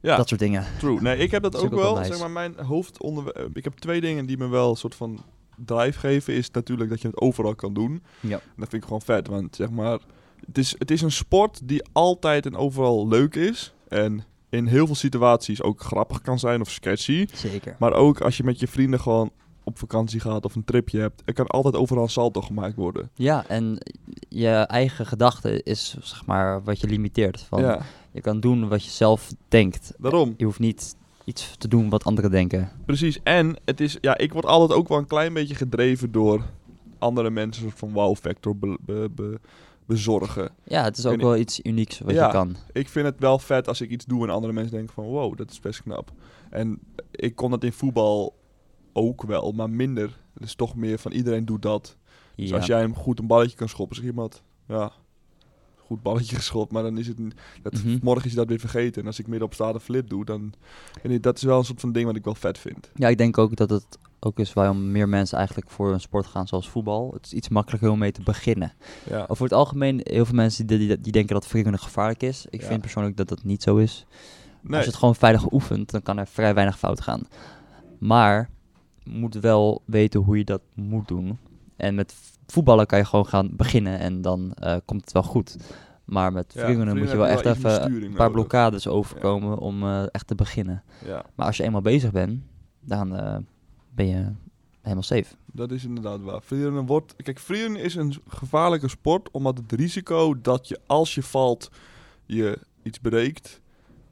Speaker 1: Ja.
Speaker 2: dat soort dingen.
Speaker 1: True. Nee, ik heb dat,
Speaker 2: Dat is
Speaker 1: ook
Speaker 2: ook wel
Speaker 1: wel.
Speaker 2: nice.
Speaker 1: Zeg maar, mijn hoofdonderwerp. Ik heb twee dingen die me wel een soort van drive geven. Is natuurlijk dat je het overal kan doen.
Speaker 2: Ja.
Speaker 1: En dat vind ik gewoon vet. Want zeg maar, het is, het is een sport die altijd en overal leuk is. En in heel veel situaties ook grappig kan zijn of sketchy.
Speaker 2: Zeker.
Speaker 1: Maar ook als je met je vrienden gewoon op vakantie gaat of een tripje hebt. Er kan altijd overal een salto gemaakt worden.
Speaker 2: Ja, en je eigen gedachte is zeg maar wat je limiteert. Van,
Speaker 1: Ja,
Speaker 2: Je kan doen wat je zelf denkt.
Speaker 1: daarom.
Speaker 2: Je hoeft niet iets te doen wat anderen denken.
Speaker 1: Precies. En het is, ja, ik word altijd ook wel een klein beetje gedreven door andere mensen. Een soort van wow factor be- be- be- bezorgen.
Speaker 2: Ja, het is ook
Speaker 1: En-
Speaker 2: wel iets unieks wat
Speaker 1: Ja.
Speaker 2: je kan.
Speaker 1: ik vind het wel vet als ik iets doe en andere mensen denken van wow, dat is best knap. En ik kon dat in voetbal ook wel, maar minder. Dus toch meer van iedereen doet dat. Dus
Speaker 2: Ja.
Speaker 1: als jij hem goed een balletje kan schoppen, zeg iemand, ja, goed balletje (laughs) geschopt, maar dan is het een- dat,
Speaker 2: Mhm.
Speaker 1: morgen is hij dat weer vergeten. En als ik midden op straat een flip doe, dan en dat is wel een soort van ding wat ik wel vet vind.
Speaker 2: ja, ik denk ook dat het ook is waarom meer mensen eigenlijk voor een sport gaan zoals voetbal. Het is iets makkelijker om mee te beginnen.
Speaker 1: Ja,
Speaker 2: Over het algemeen, heel veel mensen die, die, die denken dat frequent gevaarlijk is. Ik
Speaker 1: Ja.
Speaker 2: vind persoonlijk dat dat niet zo is.
Speaker 1: nee,
Speaker 2: Als je het gewoon veilig oefent, dan kan er vrij weinig fout gaan. Maar je moet wel weten hoe je dat moet doen. En met v- voetballen kan je gewoon gaan beginnen en dan eh, komt het wel goed. Maar met
Speaker 1: Ja,
Speaker 2: vrienden moet je
Speaker 1: vrienden
Speaker 2: wel
Speaker 1: heb
Speaker 2: echt
Speaker 1: je wel iets meer
Speaker 2: even
Speaker 1: sturing
Speaker 2: een paar
Speaker 1: nodig.
Speaker 2: blokkades overkomen om eh, echt te beginnen.
Speaker 1: ja,
Speaker 2: Maar als je eenmaal bezig bent, dan eh, ben je helemaal safe.
Speaker 1: dat is inderdaad waar. Vrienden wordt, kijk, vrienden is een gevaarlijke sport, omdat het risico dat je als je valt je iets breekt,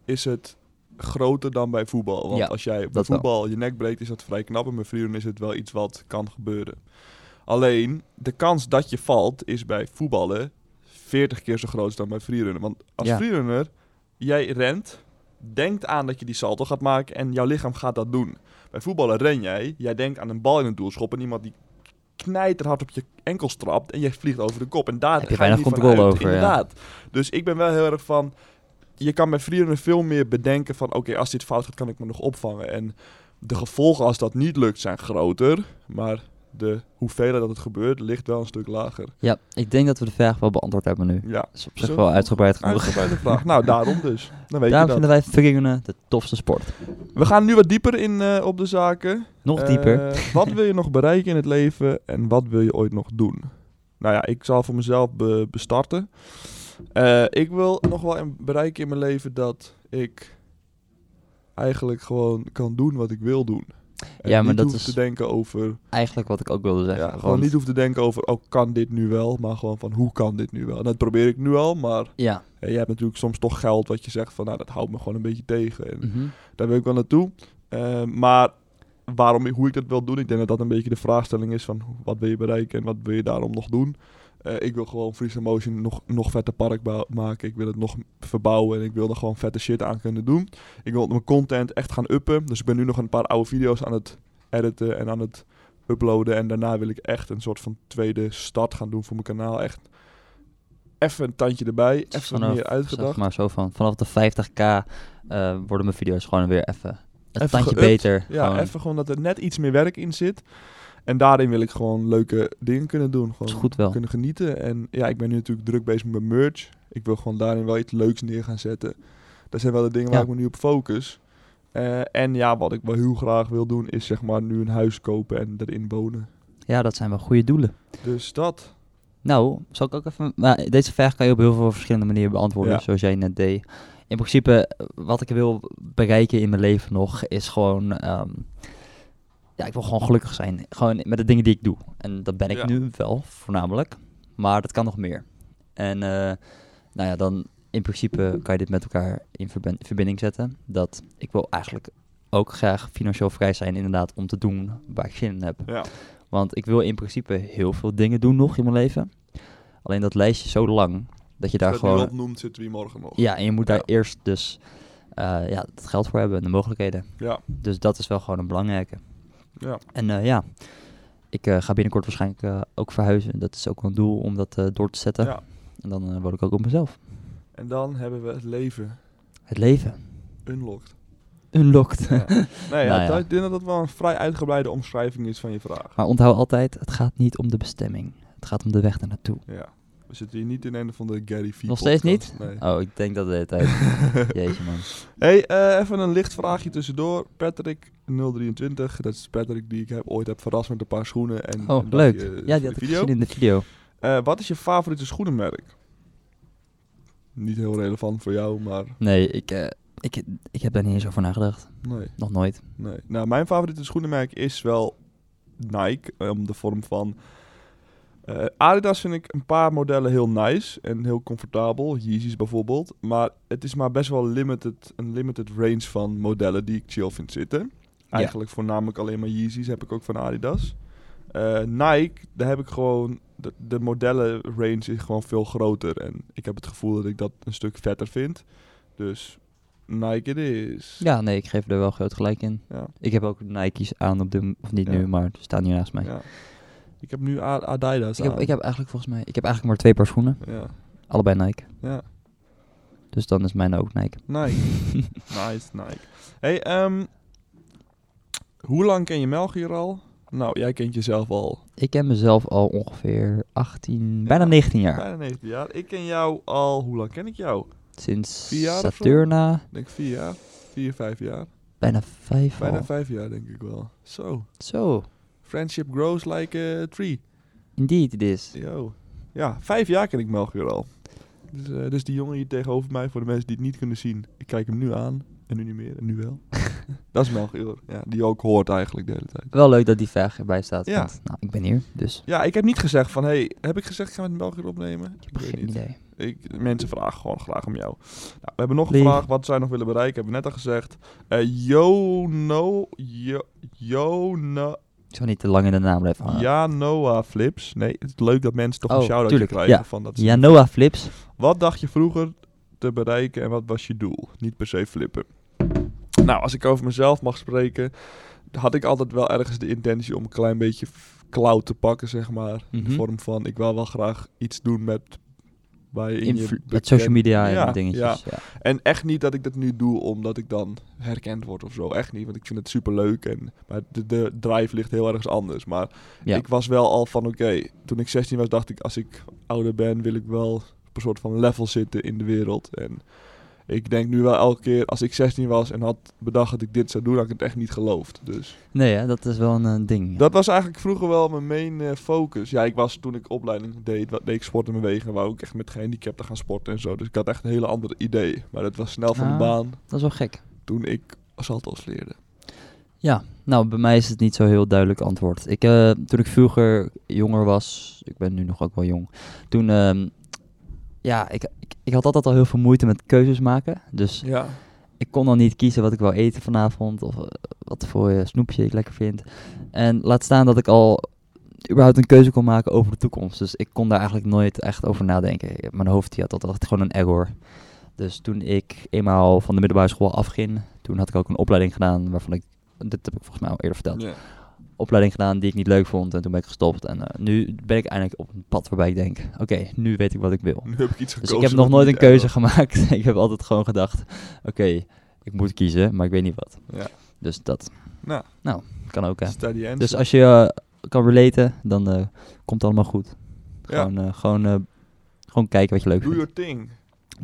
Speaker 1: is het groter dan bij voetbal. Want
Speaker 2: Ja,
Speaker 1: als jij bij
Speaker 2: dat wel.
Speaker 1: voetbal je nek breekt, is dat vrij knap. En bij vrienden is het wel iets wat kan gebeuren. Alleen, de kans dat je valt is bij voetballen 40 keer zo groot als dan bij freerunnen. Want als
Speaker 2: Ja.
Speaker 1: freerunner, jij rent, denkt aan dat je die salto gaat maken en jouw lichaam gaat dat doen. Bij voetballen ren jij, jij denkt aan een bal in het doelschop en iemand die knijterhard op je enkel strapt en jij vliegt over de kop. En daar
Speaker 2: Heb je
Speaker 1: ga
Speaker 2: weinig
Speaker 1: niet van
Speaker 2: controle
Speaker 1: uit,
Speaker 2: over, ja.
Speaker 1: Inderdaad. Dus ik ben wel heel erg van, je kan bij freerunnen veel meer bedenken van, oké, als dit fout gaat, kan ik me nog opvangen. En de gevolgen als dat niet lukt zijn groter, maar de hoeveelheid dat het gebeurt ligt wel een stuk lager.
Speaker 2: Ja, ik denk dat we de vraag wel beantwoord hebben nu.
Speaker 1: Ja,
Speaker 2: Dat is op zich
Speaker 1: Zo.
Speaker 2: wel uitgebreid genoeg.
Speaker 1: uitgebreide vraag. Nou, daarom dus. Dan weet je
Speaker 2: Daarom
Speaker 1: dat.
Speaker 2: vinden wij freerunnen de tofste sport.
Speaker 1: We gaan nu wat dieper in eh, op de zaken.
Speaker 2: Nog dieper.
Speaker 1: Eh, wat wil je nog bereiken in het leven en wat wil je ooit nog doen? Nou ja, ik zal voor mezelf be- bestarten. Eh, ik wil nog wel een- bereiken in mijn leven dat ik eigenlijk gewoon kan doen wat ik wil doen. En
Speaker 2: Ja, maar
Speaker 1: niet
Speaker 2: dat
Speaker 1: hoef
Speaker 2: is
Speaker 1: te denken over.
Speaker 2: Eigenlijk wat ik ook wilde zeggen.
Speaker 1: ja, gewoon
Speaker 2: want-
Speaker 1: niet hoef te denken over. Oh, kan dit nu wel? Maar gewoon van hoe kan dit nu wel? En dat probeer ik nu al. Maar
Speaker 2: Ja.
Speaker 1: eh, je hebt natuurlijk soms toch geld wat je zegt van. Nou, dat houdt me gewoon een beetje tegen. En
Speaker 2: mhm.
Speaker 1: daar wil ik wel naartoe. Eh, maar waarom, hoe ik dat wil doen, ik denk dat dat een beetje de vraagstelling is van wat wil je bereiken en wat wil je daarom nog doen. Eh, ik wil gewoon Freeze Motion nog, nog vetter park bou- maken. Ik wil het nog verbouwen en ik wil er gewoon vette shit aan kunnen doen. Ik wil mijn content echt gaan uppen. Dus ik ben nu nog een paar oude video's aan het editen en aan het uploaden. En daarna wil ik echt een soort van tweede start gaan doen voor mijn kanaal. Echt even een tandje erbij,
Speaker 2: Dus
Speaker 1: even
Speaker 2: vanaf,
Speaker 1: meer uitgedacht.
Speaker 2: Zeg maar zo van, vanaf de 50k eh, worden mijn video's gewoon weer even een
Speaker 1: Even
Speaker 2: tandje
Speaker 1: geüpt.
Speaker 2: beter.
Speaker 1: Ja,
Speaker 2: gewoon.
Speaker 1: even gewoon dat er net iets meer werk in zit. En daarin wil ik gewoon leuke dingen kunnen doen.
Speaker 2: Dat is
Speaker 1: Gewoon
Speaker 2: goed wel.
Speaker 1: kunnen genieten. En ja, ik ben nu natuurlijk druk bezig met mijn merch. Ik wil gewoon daarin wel iets leuks neer gaan zetten. Dat zijn wel de dingen waar
Speaker 2: Ja.
Speaker 1: ik me nu op focus. Eh, en ja, wat ik wel heel graag wil doen is zeg maar nu een huis kopen en erin wonen.
Speaker 2: Ja, dat zijn wel goede doelen.
Speaker 1: Dus dat.
Speaker 2: Nou, zal ik ook even. Maar deze vraag kan je op heel veel verschillende manieren beantwoorden,
Speaker 1: Ja.
Speaker 2: zoals jij net deed. In principe, eh, wat ik wil bereiken in mijn leven nog, is gewoon. ehm, ja, ik wil gewoon gelukkig zijn. Gewoon met de dingen die ik doe. En dat ben ik
Speaker 1: Ja.
Speaker 2: nu wel, voornamelijk. Maar dat kan nog meer. En eh, nou ja, dan in principe kan je dit met elkaar in verben- verbinding zetten. Dat ik wil eigenlijk ook graag financieel vrij zijn, inderdaad, om te doen waar ik zin in heb.
Speaker 1: Ja.
Speaker 2: Want ik wil in principe heel veel dingen doen nog in mijn leven. Alleen dat lijstje is zo lang dat je daar
Speaker 1: Als je dat nu
Speaker 2: gewoon.
Speaker 1: opnoemt, zitten we hier morgen nog.
Speaker 2: Ja, en je moet daar
Speaker 1: Ja.
Speaker 2: eerst dus eh, ja, het geld voor hebben en de mogelijkheden.
Speaker 1: Ja.
Speaker 2: Dus dat is wel gewoon een belangrijke.
Speaker 1: Ja.
Speaker 2: En eh, ja, ik eh, ga binnenkort waarschijnlijk eh, ook verhuizen. Dat is ook wel een doel om dat eh, door te zetten.
Speaker 1: Ja.
Speaker 2: En dan eh, word ik ook op mezelf.
Speaker 1: En dan hebben we het leven
Speaker 2: Het leven. (laughs)
Speaker 1: unlocked.
Speaker 2: Unlocked.
Speaker 1: Ja. Nee, ja,
Speaker 2: Nou ja.
Speaker 1: dat- Ik denk dat dat wel een vrij uitgebreide omschrijving is van je vraag.
Speaker 2: Maar onthoud altijd, het gaat niet om de bestemming. Het gaat om de weg naartoe.
Speaker 1: Ja. We zitten hier niet in een van de Gary Vee
Speaker 2: Nog steeds
Speaker 1: podcasts, Nee.
Speaker 2: Oh, ik denk dat de hele tijd. (laughs)
Speaker 1: (laughs)
Speaker 2: Jeetje man.
Speaker 1: Hey, eh, even een licht vraagje tussendoor. Patrick 023, dat is Patrick die ik heb, ooit heb verrast met een paar schoenen. En
Speaker 2: Oh,
Speaker 1: een
Speaker 2: leuk.
Speaker 1: dagje
Speaker 2: ja,
Speaker 1: voor
Speaker 2: die
Speaker 1: de
Speaker 2: had ik
Speaker 1: video.
Speaker 2: gezien in de video.
Speaker 1: Eh, wat is je favoriete schoenenmerk? Niet heel relevant voor jou, maar
Speaker 2: Nee, ik, eh, ik, ik heb daar niet eens over nagedacht.
Speaker 1: nee,
Speaker 2: Nog nooit.
Speaker 1: nee. Nou, mijn favoriete schoenenmerk is wel Nike, eh, om de vorm van... eh, Adidas vind ik een paar modellen heel nice en heel comfortabel, Yeezys bijvoorbeeld. Maar het is maar best wel limited, een limited range van modellen die ik chill vind zitten. Eigenlijk voornamelijk alleen maar Yeezys heb ik ook van Adidas. Eh, Nike, daar heb ik gewoon... De, de modellenrange is gewoon veel groter. En ik heb het gevoel dat ik dat een stuk vetter vind. Dus Nike it is.
Speaker 2: Ja, nee, ik geef er wel groot gelijk in.
Speaker 1: Ja.
Speaker 2: Ik heb ook Nike's aan op de... Of niet
Speaker 1: Ja.
Speaker 2: nu, maar ze staan hier naast mij. Dus
Speaker 1: Ja. Ik heb nu A- Adidas
Speaker 2: Ik, heb,
Speaker 1: aan.
Speaker 2: ik heb eigenlijk volgens mij... Ik heb eigenlijk maar twee paar schoenen.
Speaker 1: Ja,
Speaker 2: Allebei Nike.
Speaker 1: ja.
Speaker 2: Dus dan is mijn ook Nike.
Speaker 1: Nike. nice, Nike. Hey, ehm, hoe lang ken je Melchior al? Nou, jij kent jezelf al
Speaker 2: Ik ken mezelf al ongeveer 18... Bijna
Speaker 1: Ja.
Speaker 2: 19 jaar.
Speaker 1: bijna 19 jaar. Ik ken jou al... Hoe lang ken ik jou?
Speaker 2: Sinds
Speaker 1: Vier jaar of zo?
Speaker 2: Saturna.
Speaker 1: Ik denk vier jaar. Vier, vijf jaar.
Speaker 2: Bijna vijf
Speaker 1: Bijna
Speaker 2: al.
Speaker 1: vijf jaar, denk ik wel. Zo.
Speaker 2: Zo.
Speaker 1: Friendship grows like a tree.
Speaker 2: Indeed it is.
Speaker 1: Yo. Ja, vijf jaar ken ik Melchior al. Dus, eh, dus die jongen hier tegenover mij, voor de mensen die het niet kunnen zien. Ik kijk hem nu aan. En nu niet meer. En nu wel. dat is Melchior. Ja, die je ook hoort eigenlijk de hele tijd.
Speaker 2: Wel leuk dat die vraag erbij staat.
Speaker 1: Ja.
Speaker 2: Want, nou, ik ben hier. Dus
Speaker 1: Ja, ik heb niet gezegd van... Hey, heb ik gezegd, gaan we het Melchior opnemen?
Speaker 2: ik heb geen idee.
Speaker 1: Ik, mensen vragen gewoon graag om jou. Nou, we hebben nog een
Speaker 2: Lief.
Speaker 1: vraag. Wat zij nog willen bereiken, hebben we net al gezegd. Eh Jono... Jo, Jona-
Speaker 2: Ik zal niet te lang in de naam blijven hangen.
Speaker 1: Ja, Noah Flips. Nee, het is leuk dat mensen toch
Speaker 2: Ah. Oh,
Speaker 1: een shout-out
Speaker 2: tuurlijk,
Speaker 1: krijgen.
Speaker 2: ja.
Speaker 1: Van dat ze-
Speaker 2: Ja, Noah Flips.
Speaker 1: Wat dacht je vroeger te bereiken en wat was je doel? Niet per se flippen. Nou, als ik over mezelf mag spreken, had ik altijd wel ergens de intentie om een klein beetje f- clout te pakken, zeg maar. In
Speaker 2: Mhm.
Speaker 1: de vorm van, ik wil wel graag iets doen met... Waar je in je
Speaker 2: Influ-
Speaker 1: bekend-
Speaker 2: met social media en
Speaker 1: Ja, ja.
Speaker 2: dingetjes. Ja.
Speaker 1: En echt niet dat ik dat nu doe omdat ik dan herkend word of zo. Echt niet, want ik vind het superleuk. En, maar de, de drive ligt heel ergens anders. Maar
Speaker 2: Ja.
Speaker 1: ik was wel al van, oké, toen ik 16 was dacht ik... als ik ouder ben wil ik wel op een soort van level zitten in de wereld. En ik denk nu wel elke keer, als ik 16 was en had bedacht dat ik dit zou doen... had ik het echt niet geloofd. Dus
Speaker 2: Nee, hè, dat is wel een eh, ding. ja.
Speaker 1: dat was eigenlijk vroeger wel mijn main eh, focus. Ja, ik was toen ik opleiding deed, wa- deed ik sport en bewegen. Wou ik echt met gehandicapten gaan sporten en zo. Dus ik had echt een hele andere idee. Maar dat was snel van de
Speaker 2: Ah.
Speaker 1: baan
Speaker 2: Dat is wel gek.
Speaker 1: toen ik salto's leerde.
Speaker 2: Ja, nou, bij mij is het niet zo heel duidelijk antwoord. Ik, eh, toen ik vroeger jonger was, ik ben nu nog ook wel jong, toen, ehm, ja, ik, ik, ik had altijd al heel veel moeite met keuzes maken. Dus
Speaker 1: Ja.
Speaker 2: ik kon dan niet kiezen wat ik wou eten vanavond of eh, wat voor eh, snoepje ik lekker vind. En laat staan dat ik al überhaupt een keuze kon maken over de toekomst. Dus ik kon daar eigenlijk nooit echt over nadenken. Mijn hoofd die had altijd gewoon een error. Dus toen ik eenmaal van de middelbare school afging, toen had ik ook een opleiding gedaan waarvan ik, dit heb ik volgens mij al eerder verteld,
Speaker 1: ja.
Speaker 2: opleiding gedaan die ik niet leuk vond en toen ben ik gestopt. En eh, nu ben ik eindelijk op een pad waarbij ik denk, oké, nu weet ik wat ik wil.
Speaker 1: Nu heb ik iets
Speaker 2: Dus
Speaker 1: gekozen.
Speaker 2: ik heb nog
Speaker 1: wat
Speaker 2: nooit een
Speaker 1: niet
Speaker 2: keuze
Speaker 1: echt
Speaker 2: (laughs) gemaakt. ik heb altijd gewoon gedacht, oké, ik moet kiezen, maar ik weet niet wat.
Speaker 1: Ja.
Speaker 2: Dus dat
Speaker 1: Nou,
Speaker 2: kan ook, hè.
Speaker 1: steady end.
Speaker 2: Dus als je eh, kan relaten, dan eh, komt het allemaal goed.
Speaker 1: Ja.
Speaker 2: Gewoon, eh, gewoon, eh, gewoon kijken wat je leuk
Speaker 1: Do
Speaker 2: vindt.
Speaker 1: your thing.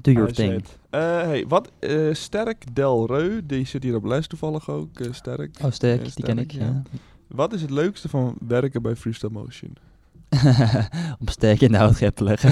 Speaker 2: Do your
Speaker 1: I
Speaker 2: thing.
Speaker 1: said. Eh, hey, wat, eh, Sterk Del Reu, die zit hier op lijst toevallig ook, eh, Sterk.
Speaker 2: Oh, sterk,
Speaker 1: Ja,
Speaker 2: die ken
Speaker 1: sterk,
Speaker 2: ik.
Speaker 1: ja.
Speaker 2: Ja.
Speaker 1: Wat is het leukste van werken bij Freestyle Motion?
Speaker 2: (laughs) Om sterk inhoud te leggen.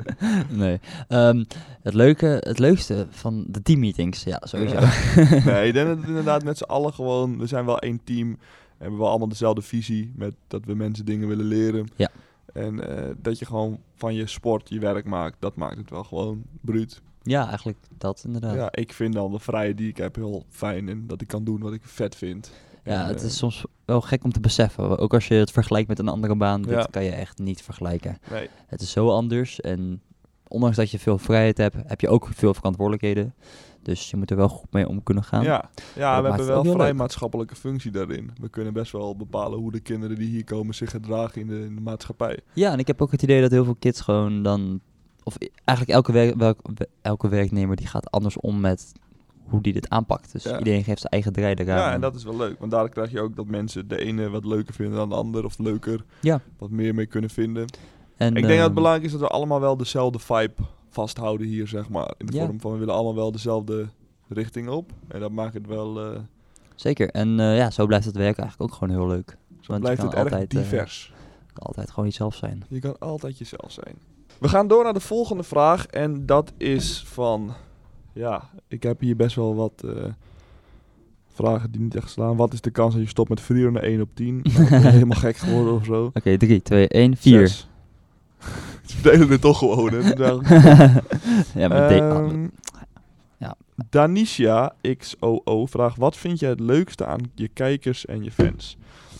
Speaker 2: (laughs) nee. Ehm, het, leuke, het leukste van de teammeetings, ja, sowieso. (laughs)
Speaker 1: nee, ik denk dat het inderdaad met z'n allen gewoon... We zijn wel één team. Hebben we allemaal dezelfde visie. Met dat we mensen dingen willen leren.
Speaker 2: Ja.
Speaker 1: En eh, dat je gewoon van je sport je werk maakt. Dat maakt het wel gewoon bruut.
Speaker 2: ja, eigenlijk dat
Speaker 1: Ja.
Speaker 2: inderdaad.
Speaker 1: ik vind dan de vrijheid die ik heb heel fijn. En dat ik kan doen wat ik vet vind.
Speaker 2: Ja,
Speaker 1: En,
Speaker 2: het
Speaker 1: eh,
Speaker 2: is soms wel gek om te beseffen. Ook als je het vergelijkt met een andere baan,
Speaker 1: Ja.
Speaker 2: dit kan je echt niet vergelijken.
Speaker 1: Nee.
Speaker 2: Het is zo anders en ondanks dat je veel vrijheid hebt, heb je ook veel verantwoordelijkheden. Dus je moet er wel goed mee om kunnen gaan.
Speaker 1: Ja, ja
Speaker 2: maakt
Speaker 1: we hebben
Speaker 2: het
Speaker 1: wel
Speaker 2: ook heel
Speaker 1: vrij
Speaker 2: leuk.
Speaker 1: maatschappelijke functie daarin. We kunnen best wel bepalen hoe de kinderen die hier komen zich gedragen in de, in de maatschappij.
Speaker 2: Ja, en ik heb ook het idee dat heel veel kids gewoon dan... Of i- eigenlijk elke, wer- welk- we- elke werknemer die gaat anders om met hoe die dit aanpakt. Dus
Speaker 1: Ja.
Speaker 2: iedereen geeft zijn eigen draai
Speaker 1: Ja,
Speaker 2: eraan.
Speaker 1: en dat is wel leuk. Want daar krijg je ook dat mensen de ene wat leuker vinden dan de ander. Of leuker.
Speaker 2: Ja.
Speaker 1: Wat meer mee kunnen vinden.
Speaker 2: En,
Speaker 1: ik denk dat
Speaker 2: ehm,
Speaker 1: het belangrijk is dat we allemaal wel dezelfde vibe vasthouden hier, zeg maar. In de
Speaker 2: Ja.
Speaker 1: vorm van we willen allemaal wel dezelfde richting op. En dat maakt het wel... eh,
Speaker 2: Zeker. En eh, ja, zo blijft het werk eigenlijk ook gewoon heel leuk.
Speaker 1: zo
Speaker 2: Want je
Speaker 1: blijft
Speaker 2: kan
Speaker 1: het erg
Speaker 2: altijd, eh,
Speaker 1: divers.
Speaker 2: Altijd gewoon jezelf zijn.
Speaker 1: Je kan altijd jezelf zijn. We gaan door naar de volgende vraag. En dat is van... Ja, ik heb hier best wel wat... eh, Vragen die niet echt slaan. Wat is de kans dat je stopt met vrienden 1 op 10? Nou, ik ben
Speaker 2: (laughs)
Speaker 1: helemaal gek geworden of zo.
Speaker 2: Oké, 3, 2, 1, 4.
Speaker 1: Zes. (laughs) Ze verdelen het toch gewoon, hè? Daar-
Speaker 2: (laughs) ja, maar de- ah,
Speaker 1: Ehm,
Speaker 2: ja.
Speaker 1: Danisha XOO vraagt: Wat vind jij het leukste aan je kijkers en je fans?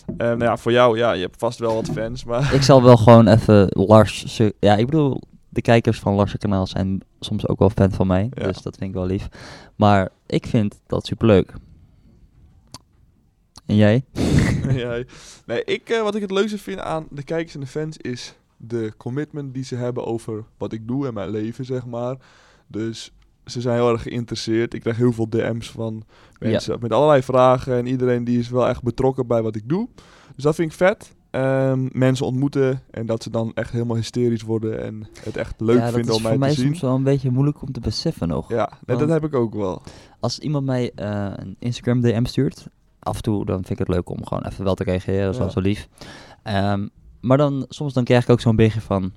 Speaker 1: Ehm, nou ja, voor jou, ja, je hebt vast wel wat fans, maar
Speaker 2: ik zal wel gewoon even Lars... ze- Ja, ik bedoel, de kijkers van Lars' kanaal zijn soms ook wel fan van mij.
Speaker 1: Ja.
Speaker 2: Dus dat vind ik wel lief. Maar ik vind dat superleuk. En jij?
Speaker 1: (laughs) ja, nee, ik, eh, wat ik het leukste vind aan de kijkers en de fans is de commitment die ze hebben over wat ik doe en mijn leven, zeg maar. Dus ze zijn heel erg geïnteresseerd. Ik krijg heel veel DM's van
Speaker 2: Ja.
Speaker 1: mensen met allerlei vragen. En iedereen die is wel echt betrokken bij wat ik doe. Dus dat vind ik vet. Ehm, mensen ontmoeten en dat ze dan echt helemaal hysterisch worden en het echt leuk
Speaker 2: ja, dat
Speaker 1: vinden
Speaker 2: is
Speaker 1: om mij,
Speaker 2: voor mij
Speaker 1: te zien.
Speaker 2: soms wel een beetje moeilijk om te beseffen nog.
Speaker 1: Ja, nee, dat
Speaker 2: want-
Speaker 1: heb ik ook wel.
Speaker 2: Als iemand mij eh, een Instagram DM stuurt, af en toe dan vind ik het leuk om gewoon even wel te reageren. Dat is
Speaker 1: Ja.
Speaker 2: wel zo lief. Ehm, maar dan soms dan krijg ik ook zo'n berichtje van...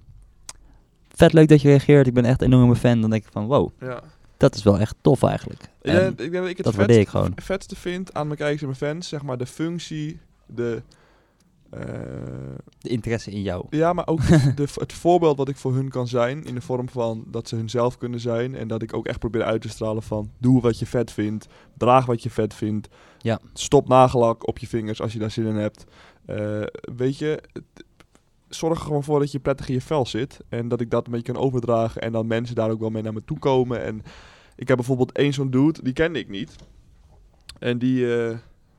Speaker 2: Vet leuk dat je reageert, ik ben echt een enorme fan. Dan denk ik van, wow,
Speaker 1: Ja.
Speaker 2: dat is wel echt tof eigenlijk.
Speaker 1: Ik
Speaker 2: En
Speaker 1: denk- ik denk dat ik het
Speaker 2: dat
Speaker 1: vet
Speaker 2: waardeer ik gewoon.
Speaker 1: het vetste vind aan mijn kijkers en mijn fans, zeg maar de functie, de. eh,
Speaker 2: de interesse in jou.
Speaker 1: ja, maar ook de, de- het voorbeeld wat ik voor hun kan zijn. In de vorm van dat ze hunzelf kunnen zijn. En dat ik ook echt probeer uit te stralen van. Doe wat je vet vindt. Draag wat je vet vindt.
Speaker 2: Ja.
Speaker 1: Stop nagellak op je vingers als je daar zin in hebt. Eh, weet je. het- Zorg er gewoon voor dat je prettig in je vel zit. En dat ik dat een beetje kan overdragen. En dan mensen daar ook wel mee naar me toe komen. En ik heb bijvoorbeeld één zo'n dude. Die kende ik niet. En die. eh,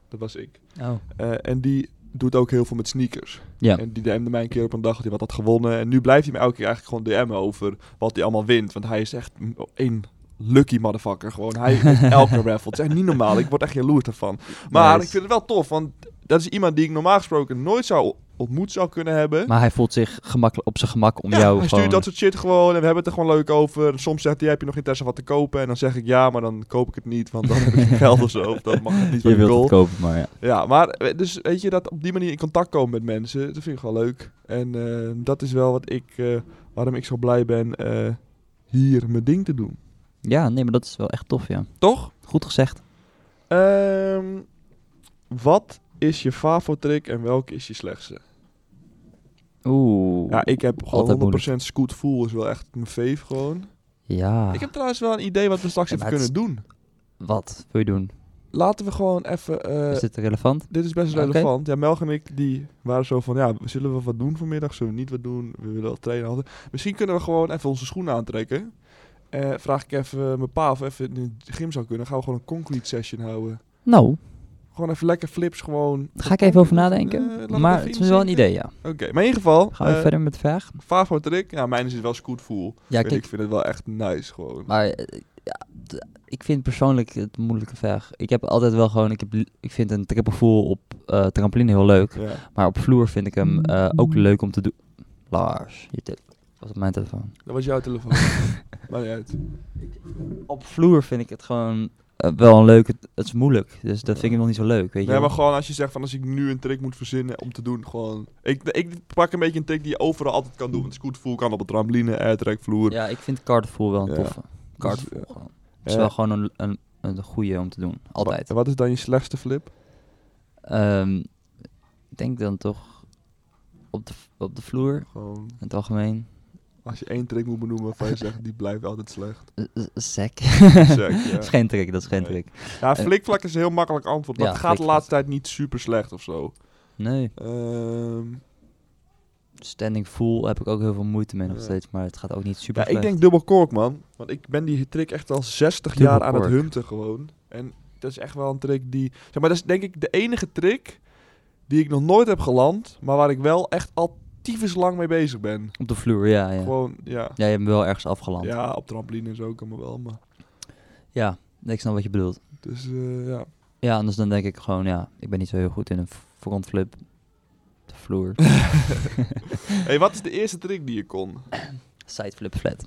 Speaker 1: dat was ik.
Speaker 2: Oh.
Speaker 1: Eh, en die doet ook heel veel met sneakers.
Speaker 2: Ja.
Speaker 1: En die DM'de mij een keer op een dag dat hij wat had gewonnen. En nu blijft hij me elke keer eigenlijk gewoon DM'en over wat hij allemaal wint. Want hij is echt een- een lucky motherfucker. Gewoon, hij
Speaker 2: (laughs)
Speaker 1: wint elke raffle. Het is echt niet normaal. Ik word echt jaloers daarvan. Maar
Speaker 2: Nice.
Speaker 1: ik vind het wel tof, want dat is iemand die ik normaal gesproken nooit zou ontmoet zou kunnen hebben.
Speaker 2: Maar hij voelt zich gemakkelijk op zijn gemak om
Speaker 1: Ja,
Speaker 2: jou
Speaker 1: hij
Speaker 2: gewoon...
Speaker 1: stuurt dat soort shit gewoon en we hebben het er gewoon leuk over. Soms zegt hij, heb je nog interesse wat te kopen? En dan zeg ik ja, maar dan koop ik het niet, want dan heb ik geen geld of zo. Of dan mag het niet van
Speaker 2: je
Speaker 1: de
Speaker 2: wilt
Speaker 1: goal.
Speaker 2: het kopen, maar ja.
Speaker 1: Ja, maar eh, dus weet je, dat op die manier in contact komen met mensen, dat vind ik wel leuk. En eh, dat is wel wat ik, eh, waarom ik zo blij ben eh, hier mijn ding te doen.
Speaker 2: Ja, nee, maar dat is wel echt tof, ja.
Speaker 1: Toch?
Speaker 2: Goed gezegd.
Speaker 1: Ehm, wat is je favo-trick en welke is je slechtste?
Speaker 2: Oeh.
Speaker 1: Ja, ik heb
Speaker 2: altijd
Speaker 1: gewoon 100% scoot full is wel echt mijn fave gewoon.
Speaker 2: Ja.
Speaker 1: Ik heb trouwens wel een idee wat we straks
Speaker 2: Ja,
Speaker 1: even
Speaker 2: maar het
Speaker 1: kunnen doen.
Speaker 2: Wat wil je doen?
Speaker 1: Laten we gewoon even... eh,
Speaker 2: is dit relevant?
Speaker 1: Dit is best
Speaker 2: Oké.
Speaker 1: relevant. Ja, Melg en ik die waren zo van, ja, zullen we wat doen vanmiddag? Zullen we niet wat doen? We willen wel trainen. Hadden. Misschien kunnen we gewoon even onze schoenen aantrekken. Eh, vraag ik even mijn pa of even in de gym zou kunnen. Gaan we gewoon een concrete session houden.
Speaker 2: Nou,
Speaker 1: Gewoon even lekker flips gewoon.
Speaker 2: daar ga ik even over
Speaker 1: Eh, laat
Speaker 2: nadenken.
Speaker 1: het
Speaker 2: maar
Speaker 1: even
Speaker 2: het is wel een
Speaker 1: inzinken.
Speaker 2: idee, ja.
Speaker 1: Oké, maar in ieder geval,
Speaker 2: Gaan we
Speaker 1: eh,
Speaker 2: verder met de vraag?
Speaker 1: favoriete trick. Ja, mijn is het wel scoot full.
Speaker 2: Ja,
Speaker 1: Ik
Speaker 2: kijk.
Speaker 1: vind het wel echt nice gewoon.
Speaker 2: Maar eh, ja, d- ik vind persoonlijk het een moeilijke vraag. Ik heb altijd wel gewoon, ik, heb, li- ik vind een triple full op eh, trampoline heel leuk.
Speaker 1: Ja.
Speaker 2: Maar op vloer vind ik hem eh, ook leuk om te doen. Lars, je te- was op mijn telefoon.
Speaker 1: Dat was jouw
Speaker 2: (laughs)
Speaker 1: telefoon. Maakt niet uit.
Speaker 2: Op vloer vind ik het gewoon eh, wel een leuk. Het, het is moeilijk, dus dat vind ik nog niet zo leuk. Weet je
Speaker 1: Nee,
Speaker 2: wel.
Speaker 1: maar gewoon als je zegt van als ik nu een trick moet verzinnen om te doen, gewoon... Ik, ik pak een beetje een trick die je overal altijd kan doen. Want scootvoel kan op een trampoline, airtrack, vloer.
Speaker 2: Ja, ik vind cartvoer wel een
Speaker 1: Ja.
Speaker 2: toffe. Cartvoer
Speaker 1: Dus,
Speaker 2: gewoon. Het is
Speaker 1: ja.
Speaker 2: wel gewoon een, een, een goede om te doen. Altijd.
Speaker 1: Wa- Wat is dan je slechtste flip?
Speaker 2: Ehm, ik denk dan toch op de, op de vloer,
Speaker 1: Gewoon,
Speaker 2: in het algemeen.
Speaker 1: als je één trick moet benoemen
Speaker 2: (laughs)
Speaker 1: van je zegt, die blijft altijd slecht.
Speaker 2: Eh, eh, Zek. (laughs)
Speaker 1: Zek, ja.
Speaker 2: Dat is geen trick, dat is geen
Speaker 1: Nee.
Speaker 2: trick.
Speaker 1: Ja,
Speaker 2: Eh,
Speaker 1: flikvlak is een heel makkelijk antwoord. Maar
Speaker 2: ja,
Speaker 1: het gaat de
Speaker 2: flikvlak.
Speaker 1: laatste tijd niet super slecht of zo.
Speaker 2: Nee.
Speaker 1: Ehm,
Speaker 2: Standing full heb ik ook heel veel moeite mee nog
Speaker 1: Ja.
Speaker 2: steeds, maar het gaat ook niet super
Speaker 1: ja, ik
Speaker 2: slecht.
Speaker 1: denk dubbel kork, man. Want ik ben die trick echt al 60
Speaker 2: Dubbel
Speaker 1: jaar aan het
Speaker 2: kork.
Speaker 1: hunten gewoon. En dat is echt wel een trick die... Zeg maar, dat is denk ik de enige trick die ik nog nooit heb geland. Maar waar ik wel echt al tyfus lang mee bezig ben.
Speaker 2: Op de vloer, ja, ja.
Speaker 1: Gewoon, ja.
Speaker 2: Ja, je hebt hem wel ergens afgeland. Ja.
Speaker 1: Ja, op trampoline en zo kan me wel. Maar,
Speaker 2: ik snap wat je bedoelt.
Speaker 1: dus eh, ja.
Speaker 2: Ja, anders dan denk ik gewoon, ja, ik ben niet zo heel goed in een f- frontflip. De
Speaker 1: (laughs)
Speaker 2: vloer.
Speaker 1: hey, wat is de eerste trick die je kon?
Speaker 2: Sideflip flat.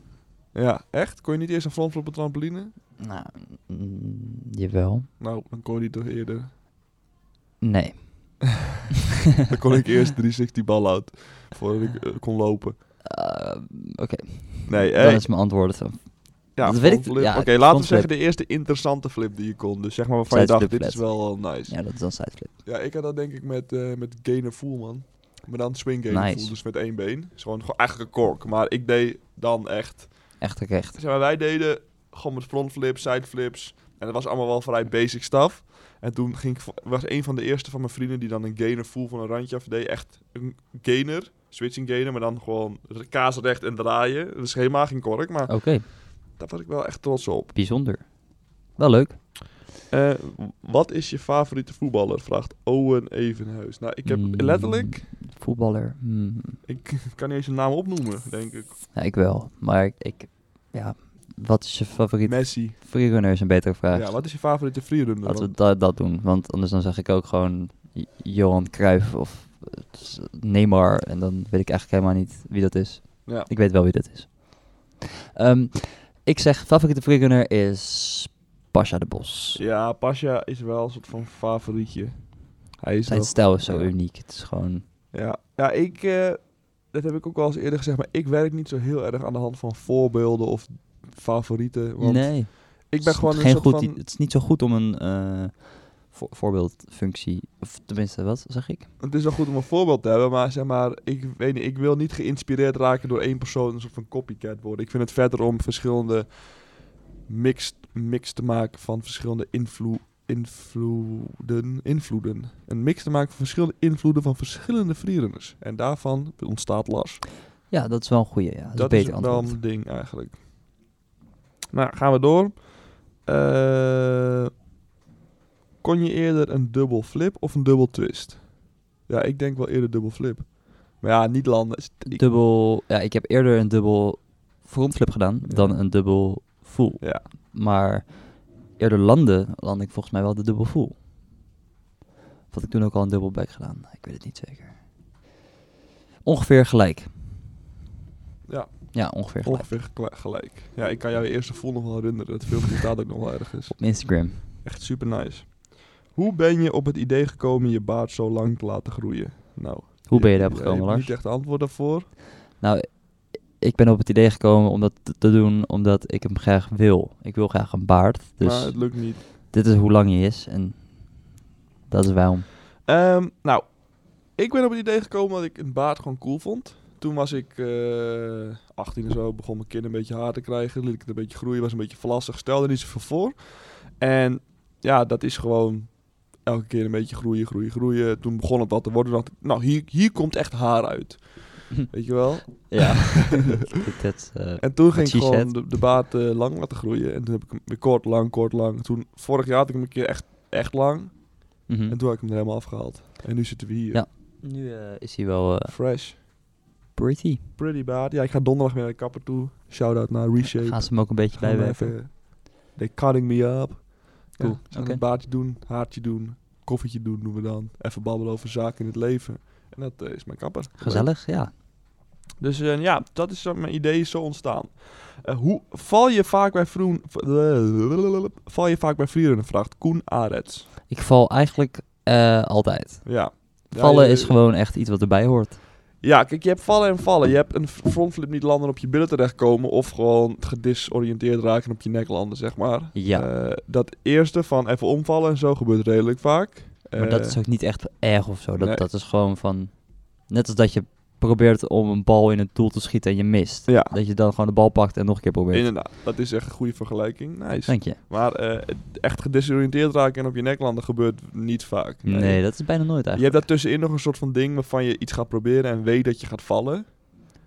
Speaker 1: Ja, echt? Kon je niet eerst een frontflip op trampoline?
Speaker 2: Nou, mm, jawel.
Speaker 1: Nou, dan kon je die toch eerder.
Speaker 2: Nee.
Speaker 1: Dan kon ik
Speaker 2: (laughs)
Speaker 1: eerst 360 bal out. Voordat ik eh, kon lopen.
Speaker 2: Eh, Oké,
Speaker 1: Nee,
Speaker 2: dat
Speaker 1: hey.
Speaker 2: is mijn antwoord. Het, eh,
Speaker 1: Ja,
Speaker 2: Dat weet ik-
Speaker 1: frontflip.
Speaker 2: ja,
Speaker 1: Oké, laten we
Speaker 2: frontflip.
Speaker 1: zeggen de eerste interessante flip die je kon. Dus zeg maar waarvan je dacht,
Speaker 2: Sideflip
Speaker 1: dit is
Speaker 2: flat.
Speaker 1: wel eh, nice. Ja.
Speaker 2: Ja, dat is dan sideflip.
Speaker 1: ik had dat denk ik met, eh met gainer full, man. Maar dan swing gainer
Speaker 2: Nice.
Speaker 1: full, dus met één been. Is gewoon, gewoon eigenlijk een kork. Maar ik deed dan echt...
Speaker 2: Echt ook echt.
Speaker 1: Zeg maar, wij deden gewoon met frontflips, sideflips. En dat was allemaal wel vrij basic stuff. En toen ging ik, vo- was een van de eerste van mijn vrienden die dan een gainer full van een randje af deed. Echt een gainer, switching gainer, maar dan gewoon kaas recht en draaien. Dat is helemaal geen kork, maar
Speaker 2: Oké,
Speaker 1: daar was ik wel echt trots op.
Speaker 2: bijzonder. Wel leuk.
Speaker 1: Eh, wat is je favoriete voetballer? Vraagt Owen Evenhuis. Nou, ik heb
Speaker 2: Mm.
Speaker 1: letterlijk...
Speaker 2: Voetballer. hmm.
Speaker 1: Ik (laughs) kan niet eens een naam opnoemen, denk ik.
Speaker 2: Ja, ik wel. Maar ik, ik- ja, wat is je favoriet?
Speaker 1: Messi.
Speaker 2: Freerunner is een betere vraag.
Speaker 1: Ja, wat is je favoriete freerunner?
Speaker 2: Laten we
Speaker 1: Want-
Speaker 2: da- dat doen. Want anders dan zeg ik ook gewoon J- Johan Cruijff of eh, het is Neymar. En dan weet ik eigenlijk helemaal niet wie dat is.
Speaker 1: Ja.
Speaker 2: Ik weet wel wie dat is. Ehm, ik zeg, favoriete freerunner is Pasha de Bos.
Speaker 1: Ja, Pasha is wel een soort van favorietje. Hij is
Speaker 2: Zijn
Speaker 1: wel...
Speaker 2: stijl is zo
Speaker 1: Ja.
Speaker 2: uniek. Het is gewoon...
Speaker 1: Ja, ja ik... eh, dat heb ik ook al eens eerder gezegd, maar ik werk niet zo heel erg aan de hand van voorbeelden of favorieten. Want
Speaker 2: nee.
Speaker 1: ik ben gewoon
Speaker 2: het
Speaker 1: een
Speaker 2: is geen
Speaker 1: soort
Speaker 2: goed, i-
Speaker 1: van...
Speaker 2: Het is niet zo goed om een eh, voor- voorbeeldfunctie... Of tenminste, wat zeg ik?
Speaker 1: Het is wel goed om een voorbeeld te hebben, maar zeg maar, ik weet niet, ik wil niet geïnspireerd raken door één persoon, een soort van copycat worden. Ik vind het verder om verschillende mix, mix te maken van verschillende invloe- invloeden, invloeden. Een mix te maken van verschillende invloeden van verschillende freerunners. En daarvan ontstaat Lars.
Speaker 2: Ja, dat is wel een goeie. Ja. Dat,
Speaker 1: Dat
Speaker 2: is
Speaker 1: is
Speaker 2: beter
Speaker 1: wel
Speaker 2: antwoord.
Speaker 1: een ding eigenlijk. Nou, gaan we door. Eh, kon je eerder een dubbel flip of een dubbel twist? Ja, ik denk wel eerder dubbel flip. Maar ja, niet landen. is- ik-
Speaker 2: dubbel. Ja, ik heb eerder een dubbel frontflip gedaan
Speaker 1: Ja.
Speaker 2: dan een dubbel full.
Speaker 1: Ja.
Speaker 2: Maar eerder landde, landde ik volgens mij wel de dubbel full. Of had ik toen ook al een dubbel back gedaan? Ik weet het niet zeker. Ongeveer gelijk.
Speaker 1: Ja.
Speaker 2: Ja, ongeveer gelijk.
Speaker 1: Ongeveer gel- gelijk. Ja, ik kan jou je eerste vol nog wel herinneren. Het filmpje staat ook nog wel ergens.
Speaker 2: Op Instagram.
Speaker 1: Echt super nice. Hoe ben je op het idee gekomen je baard zo lang te laten groeien? Nou,
Speaker 2: Hoe ben je
Speaker 1: hebt-
Speaker 2: daarop gekomen,
Speaker 1: hebt
Speaker 2: Lars?
Speaker 1: Niet echt antwoord daarvoor.
Speaker 2: Nou, ik ben op het idee gekomen om dat te- te doen omdat ik hem graag wil. Ik wil graag een baard. Dus
Speaker 1: Maar het lukt niet.
Speaker 2: dit is hoe lang hij is en dat is waarom.
Speaker 1: Ehm, nou, ik ben op het idee gekomen dat ik een baard gewoon cool vond. Toen was ik eh 18 of zo, begon mijn kin een beetje haar te krijgen. Liet ik het een beetje groeien, was een beetje vlassig, stelde er niet zoveel voor. En ja, dat is gewoon elke keer een beetje groeien, groeien, groeien. Toen begon het wat te worden. Toen dacht ik, nou, hier, hier komt echt haar uit. Weet je wel? (laughs)
Speaker 2: (laughs) Ja. dat, dat, eh,
Speaker 1: En toen ging ik
Speaker 2: she
Speaker 1: gewoon
Speaker 2: said.
Speaker 1: de, de baard eh, lang laten groeien. En toen heb ik hem weer kort, lang, kort, lang. Toen, vorig jaar had ik hem een keer echt, echt lang.
Speaker 2: mhm.
Speaker 1: En toen heb ik hem er helemaal afgehaald. En nu zitten we hier.
Speaker 2: Ja. Nu eh, is hij wel eh,
Speaker 1: Fresh.
Speaker 2: pretty.
Speaker 1: Pretty bad. Ja, ik ga donderdag weer naar de kapper toe. Shout-out naar Reshape.
Speaker 2: Gaan ze hem ook een beetje
Speaker 1: Gaan we
Speaker 2: bijwerken.
Speaker 1: even They cutting me up. Cool.
Speaker 2: Ja,
Speaker 1: Zullen we
Speaker 2: oké.
Speaker 1: een baardje doen, haartje doen, koffietje doen doen we dan. Even babbelen over zaken in het leven. En dat eh, is mijn kapper.
Speaker 2: Gezellig, ja.
Speaker 1: Dus eh, ja, dat is zo- mijn idee is zo ontstaan. Eh, hoe val je vaak bij vroen... (laughs) Val je vaak bij vrienden? Vraagt Koen Arets.
Speaker 2: Ik val eigenlijk eh, altijd.
Speaker 1: Ja. Ja,
Speaker 2: Vallen
Speaker 1: je-
Speaker 2: is gewoon echt iets wat erbij hoort.
Speaker 1: Ja, kijk, je hebt vallen en vallen. Je hebt een frontflip niet landen op je billen terechtkomen... of gewoon gedisoriënteerd raken en op je nek landen, zeg maar.
Speaker 2: Ja,
Speaker 1: Eh, dat eerste van even omvallen en zo gebeurt redelijk vaak.
Speaker 2: maar dat
Speaker 1: Eh,
Speaker 2: is ook niet echt erg of zo. Dat,
Speaker 1: nee.
Speaker 2: dat is gewoon van... Net als dat je probeert om een bal in het doel te schieten en je mist.
Speaker 1: Ja.
Speaker 2: Dat je dan gewoon de bal pakt en nog een keer probeert.
Speaker 1: Inderdaad, dat is echt een goede vergelijking. Nice.
Speaker 2: Dank je.
Speaker 1: Maar eh, het echt gedisoriënteerd raken en op je nek landen gebeurt niet vaak.
Speaker 2: Nee. dat is bijna nooit
Speaker 1: Je
Speaker 2: eigenlijk.
Speaker 1: hebt daartussenin nog een soort van ding waarvan je iets gaat proberen en weet dat je gaat vallen.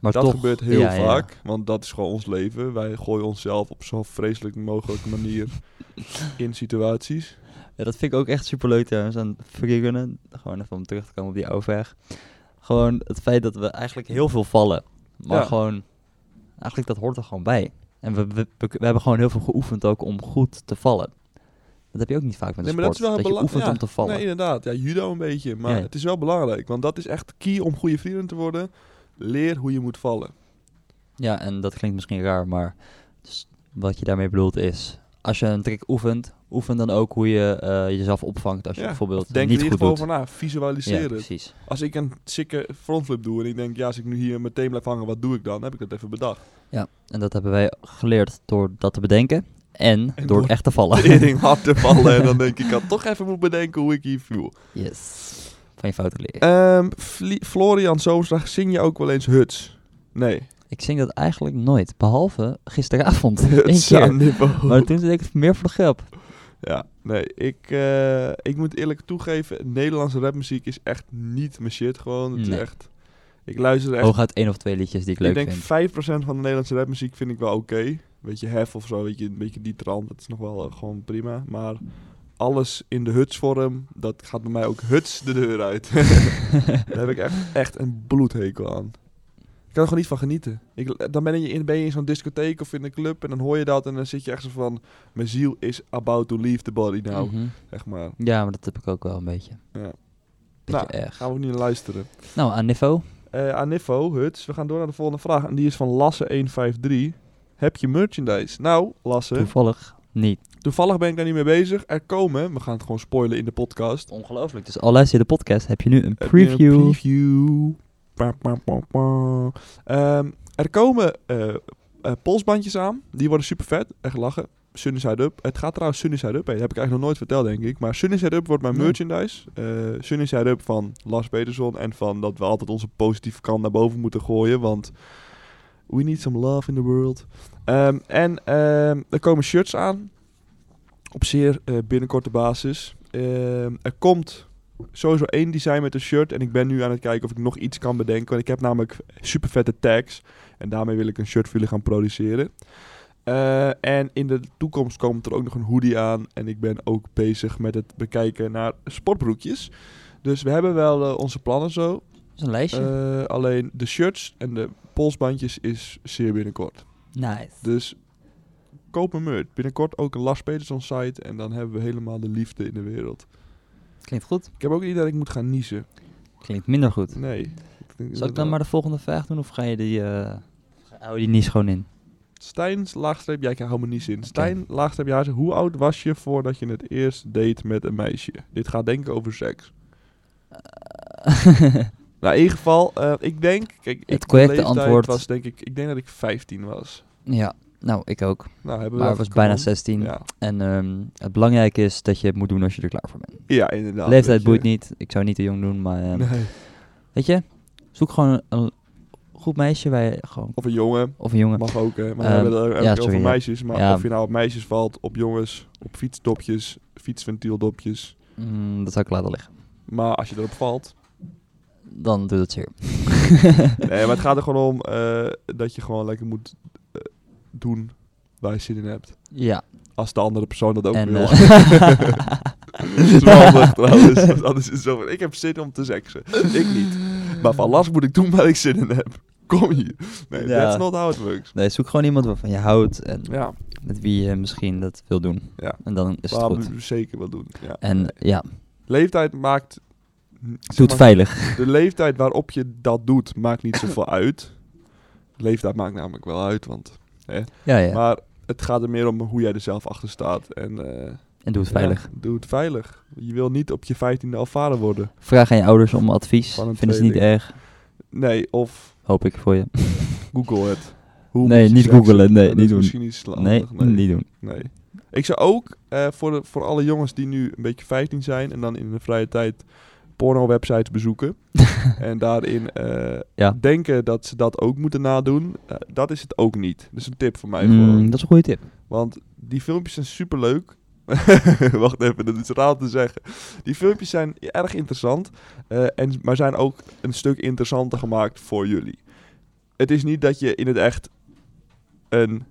Speaker 2: maar
Speaker 1: dat
Speaker 2: toch,
Speaker 1: gebeurt heel
Speaker 2: ja, ja.
Speaker 1: vaak, want dat is gewoon ons leven. Wij gooien onszelf op zo'n vreselijk mogelijke
Speaker 2: (laughs)
Speaker 1: manier in situaties.
Speaker 2: Ja, dat vind ik ook echt superleuk trouwens aan freerunnen. Gewoon even om terug te komen op die oude vraag. Gewoon het feit dat we eigenlijk heel veel vallen. Maar
Speaker 1: Ja.
Speaker 2: gewoon, eigenlijk dat hoort er gewoon bij. En we, we, we- we hebben gewoon heel veel geoefend ook om goed te vallen. Dat heb je ook niet vaak met een
Speaker 1: Nee, maar
Speaker 2: sport.
Speaker 1: dat is wel
Speaker 2: je
Speaker 1: belangrijk.
Speaker 2: oefent om te vallen.
Speaker 1: Nee, inderdaad. Ja, judo een beetje, maar
Speaker 2: Ja.
Speaker 1: het is wel belangrijk, want dat is echt key om goede vrienden te worden. Leer hoe je moet vallen.
Speaker 2: Ja, en dat klinkt misschien raar, maar dus wat je daarmee bedoelt is... Als je een trick oefent, oefen dan ook hoe je eh, jezelf opvangt als je
Speaker 1: Ja,
Speaker 2: bijvoorbeeld
Speaker 1: Denk er
Speaker 2: niet
Speaker 1: in
Speaker 2: goed
Speaker 1: ieder geval
Speaker 2: doet.
Speaker 1: over na.
Speaker 2: ja,
Speaker 1: Visualiseren.
Speaker 2: precies.
Speaker 1: Als ik een sikke frontflip doe en ik denk, ja, als ik nu hier meteen blijf hangen, wat doe ik dan? Heb ik dat even bedacht.
Speaker 2: En dat hebben wij geleerd door dat te bedenken en,
Speaker 1: En
Speaker 2: door,
Speaker 1: door
Speaker 2: echt te
Speaker 1: (laughs)
Speaker 2: vallen.
Speaker 1: Tering hard te vallen en dan denk ik, ik had toch even moeten bedenken hoe ik hier viel.
Speaker 2: (laughs) Yes. Van je fouten leren.
Speaker 1: Ehm, Fli- Florian Zoosdag, zing je ook wel eens huts? Nee.
Speaker 2: (laughs) Ik zing dat eigenlijk nooit, behalve gisteravond.
Speaker 1: (laughs)
Speaker 2: Eén
Speaker 1: Huts
Speaker 2: keer.
Speaker 1: aan niveau.
Speaker 2: eh, Maar toen deed ik het meer voor de grap.
Speaker 1: Ja, nee, ik, eh, ik moet eerlijk toegeven, Nederlandse rapmuziek is echt niet mijn shit gewoon. Het
Speaker 2: Nee.
Speaker 1: is echt, ik luister er echt
Speaker 2: Hooguit één of twee liedjes die ik
Speaker 1: Ik
Speaker 2: leuk
Speaker 1: denk 5%
Speaker 2: vind.
Speaker 1: van de Nederlandse rapmuziek vind ik wel oké. Beetje hef of zo, weet je, een beetje die trant. Dat is nog wel eh, gewoon prima. Maar alles in de hutsvorm, dat gaat bij mij ook huts de deur
Speaker 2: (laughs)
Speaker 1: uit. Daar heb ik echt, echt een bloedhekel aan. Ik kan er gewoon niet van genieten. Ik, dan ben je, in, ben je in zo'n discotheek of in een club en dan hoor je dat en dan zit je echt zo van... Mijn ziel is about to leave the body now,
Speaker 2: Mhm.
Speaker 1: zeg maar.
Speaker 2: Ja, maar dat heb ik ook wel een beetje.
Speaker 1: Ja.
Speaker 2: Beetje
Speaker 1: Nou,
Speaker 2: erg.
Speaker 1: Gaan we ook niet naar luisteren.
Speaker 2: Nou, aan Niffo.
Speaker 1: Eh aan Niffo, Huts. We gaan door naar de volgende vraag. En die is van Lasse153. Heb je merchandise? Nou, Lasse,
Speaker 2: Toevallig niet.
Speaker 1: toevallig ben ik daar niet mee bezig. Er komen, we gaan het gewoon spoilen in de podcast.
Speaker 2: Ongelooflijk. Dus al luister je de podcast, heb je nu een
Speaker 1: Heb je een
Speaker 2: preview.
Speaker 1: preview. Pa, pa, pa, pa. Ehm, er komen eh, eh, polsbandjes aan. Die worden super vet. Echt lachen. Sunny Side Up. Het gaat trouwens Sunny Side Up. heen. Dat heb ik eigenlijk nog nooit verteld, denk ik. Maar Sunny Side Up wordt mijn
Speaker 2: Nee.
Speaker 1: merchandise. Eh Sunny Side Up van Lars Peterson. En van dat we altijd onze positieve kant naar boven moeten gooien. Want we need some love in the world. Ehm, en ehm, er komen shirts aan. Op zeer eh, binnenkorte basis. Ehm, er komt sowieso één design met een shirt. En ik ben nu aan het kijken of ik nog iets kan bedenken. Want ik heb namelijk super vette tags. En daarmee wil ik een shirt voor jullie gaan produceren. Eh, en in de toekomst komt er ook nog een hoodie aan. En ik ben ook bezig met het bekijken naar sportbroekjes. Dus we hebben wel eh, onze plannen zo.
Speaker 2: Dat is een lijstje.
Speaker 1: Eh, alleen de shirts en de polsbandjes is zeer binnenkort.
Speaker 2: nice.
Speaker 1: Dus koop een merch. Binnenkort ook een Lars Peterson site. En dan hebben we helemaal de liefde in de wereld.
Speaker 2: Klinkt goed.
Speaker 1: Ik heb ook niet dat ik moet gaan niezen.
Speaker 2: Klinkt minder goed.
Speaker 1: Nee. denk
Speaker 2: Zal ik
Speaker 1: dat-
Speaker 2: dan maar de volgende vraag doen of ga je die... eh hou je die niet gewoon in?
Speaker 1: Stijn, laagstreep, jij houdt me niet zin. Stijn, laagstreep, ja, hoe oud was je voordat je het eerst deed met een meisje? Dit gaat denk ik over seks.
Speaker 2: Eh,
Speaker 1: Nou, in ieder geval, eh, ik denk... Kijk, ik-
Speaker 2: Het correcte
Speaker 1: mijn leeftijd
Speaker 2: antwoord-
Speaker 1: was denk ik... Ik denk dat ik 15 was.
Speaker 2: (laughs) ja, nou ik ook.
Speaker 1: Nou, hebben we
Speaker 2: Maar
Speaker 1: dat
Speaker 2: ik was
Speaker 1: gekomen?
Speaker 2: bijna 16.
Speaker 1: Ja.
Speaker 2: En ehm, het belangrijke is dat je het moet doen als je er klaar voor bent.
Speaker 1: ja, inderdaad. weet
Speaker 2: Leeftijd
Speaker 1: je.
Speaker 2: boeit niet. Ik zou niet te jong doen, maar ehm,
Speaker 1: Nee.
Speaker 2: weet je, zoek gewoon een goed meisje waar je gewoon
Speaker 1: Of een jongen,
Speaker 2: of een jongen.
Speaker 1: mag ook. Hè. Maar
Speaker 2: Ehm,
Speaker 1: we hebben het
Speaker 2: ja,
Speaker 1: eigenlijk
Speaker 2: sorry,
Speaker 1: over
Speaker 2: ja.
Speaker 1: meisjes. Maar
Speaker 2: Ja.
Speaker 1: of je nou op meisjes valt, op jongens, op fietsdopjes, fietsventieldopjes.
Speaker 2: Mm, dat zou ik laten liggen.
Speaker 1: Maar als je erop valt,
Speaker 2: Dan doet het zeer.
Speaker 1: Nee, maar het gaat er gewoon om eh, dat je gewoon lekker moet eh, doen waar je zin in hebt.
Speaker 2: Ja.
Speaker 1: Als de andere persoon dat ook
Speaker 2: en,
Speaker 1: wil. (laughs)
Speaker 2: eh,
Speaker 1: dat is wel handig trouwens. want Anders is het zo van, ik heb zin om te seksen. Ik niet. Maar van last moet ik doen waar ik zin in heb. kom hier. Nee,
Speaker 2: Ja.
Speaker 1: that's not how it works.
Speaker 2: (laughs) Nee, zoek gewoon iemand waarvan je houdt en
Speaker 1: Ja,
Speaker 2: met wie je misschien dat wil doen.
Speaker 1: Ja.
Speaker 2: En dan is het
Speaker 1: waar
Speaker 2: goed.
Speaker 1: we zeker wat doen. Ja.
Speaker 2: En ja,
Speaker 1: Leeftijd maakt...
Speaker 2: doe het veilig.
Speaker 1: De leeftijd waarop je dat doet, maakt niet
Speaker 2: (laughs)
Speaker 1: zoveel uit. Leeftijd maakt namelijk wel uit, want...
Speaker 2: Ja, ja.
Speaker 1: Maar het gaat er meer om hoe jij er zelf achter staat. En eh,
Speaker 2: En doe het veilig.
Speaker 1: ja, doe het veilig. Je wil niet op je 15e al vader worden.
Speaker 2: Vraag aan je ouders om advies.
Speaker 1: Van een
Speaker 2: Vinden ze niet erg,
Speaker 1: Nee, of
Speaker 2: hoop ik voor je.
Speaker 1: Google het. Hoe
Speaker 2: Nee,
Speaker 1: moet je
Speaker 2: niet
Speaker 1: seks-
Speaker 2: googlen. Nee,
Speaker 1: Dat
Speaker 2: niet
Speaker 1: is
Speaker 2: doen.
Speaker 1: Misschien iets
Speaker 2: Nee,
Speaker 1: handig,
Speaker 2: niet doen.
Speaker 1: Nee. Ik zou ook eh, voor, de, voor alle jongens die nu een beetje 15 zijn en dan in de vrije tijd porno-websites
Speaker 2: (laughs)
Speaker 1: bezoeken. en daarin eh,
Speaker 2: Ja.
Speaker 1: denken dat ze dat ook moeten nadoen. eh, dat is het ook niet. Dus een tip van mij.
Speaker 2: Mm,
Speaker 1: Gewoon.
Speaker 2: dat is een goede tip.
Speaker 1: Want die filmpjes zijn superleuk. (laughs) Wacht even, dat is raar te zeggen. Die filmpjes zijn erg interessant, eh, en, maar zijn ook een stuk interessanter gemaakt voor jullie. Het is niet dat je in het echt een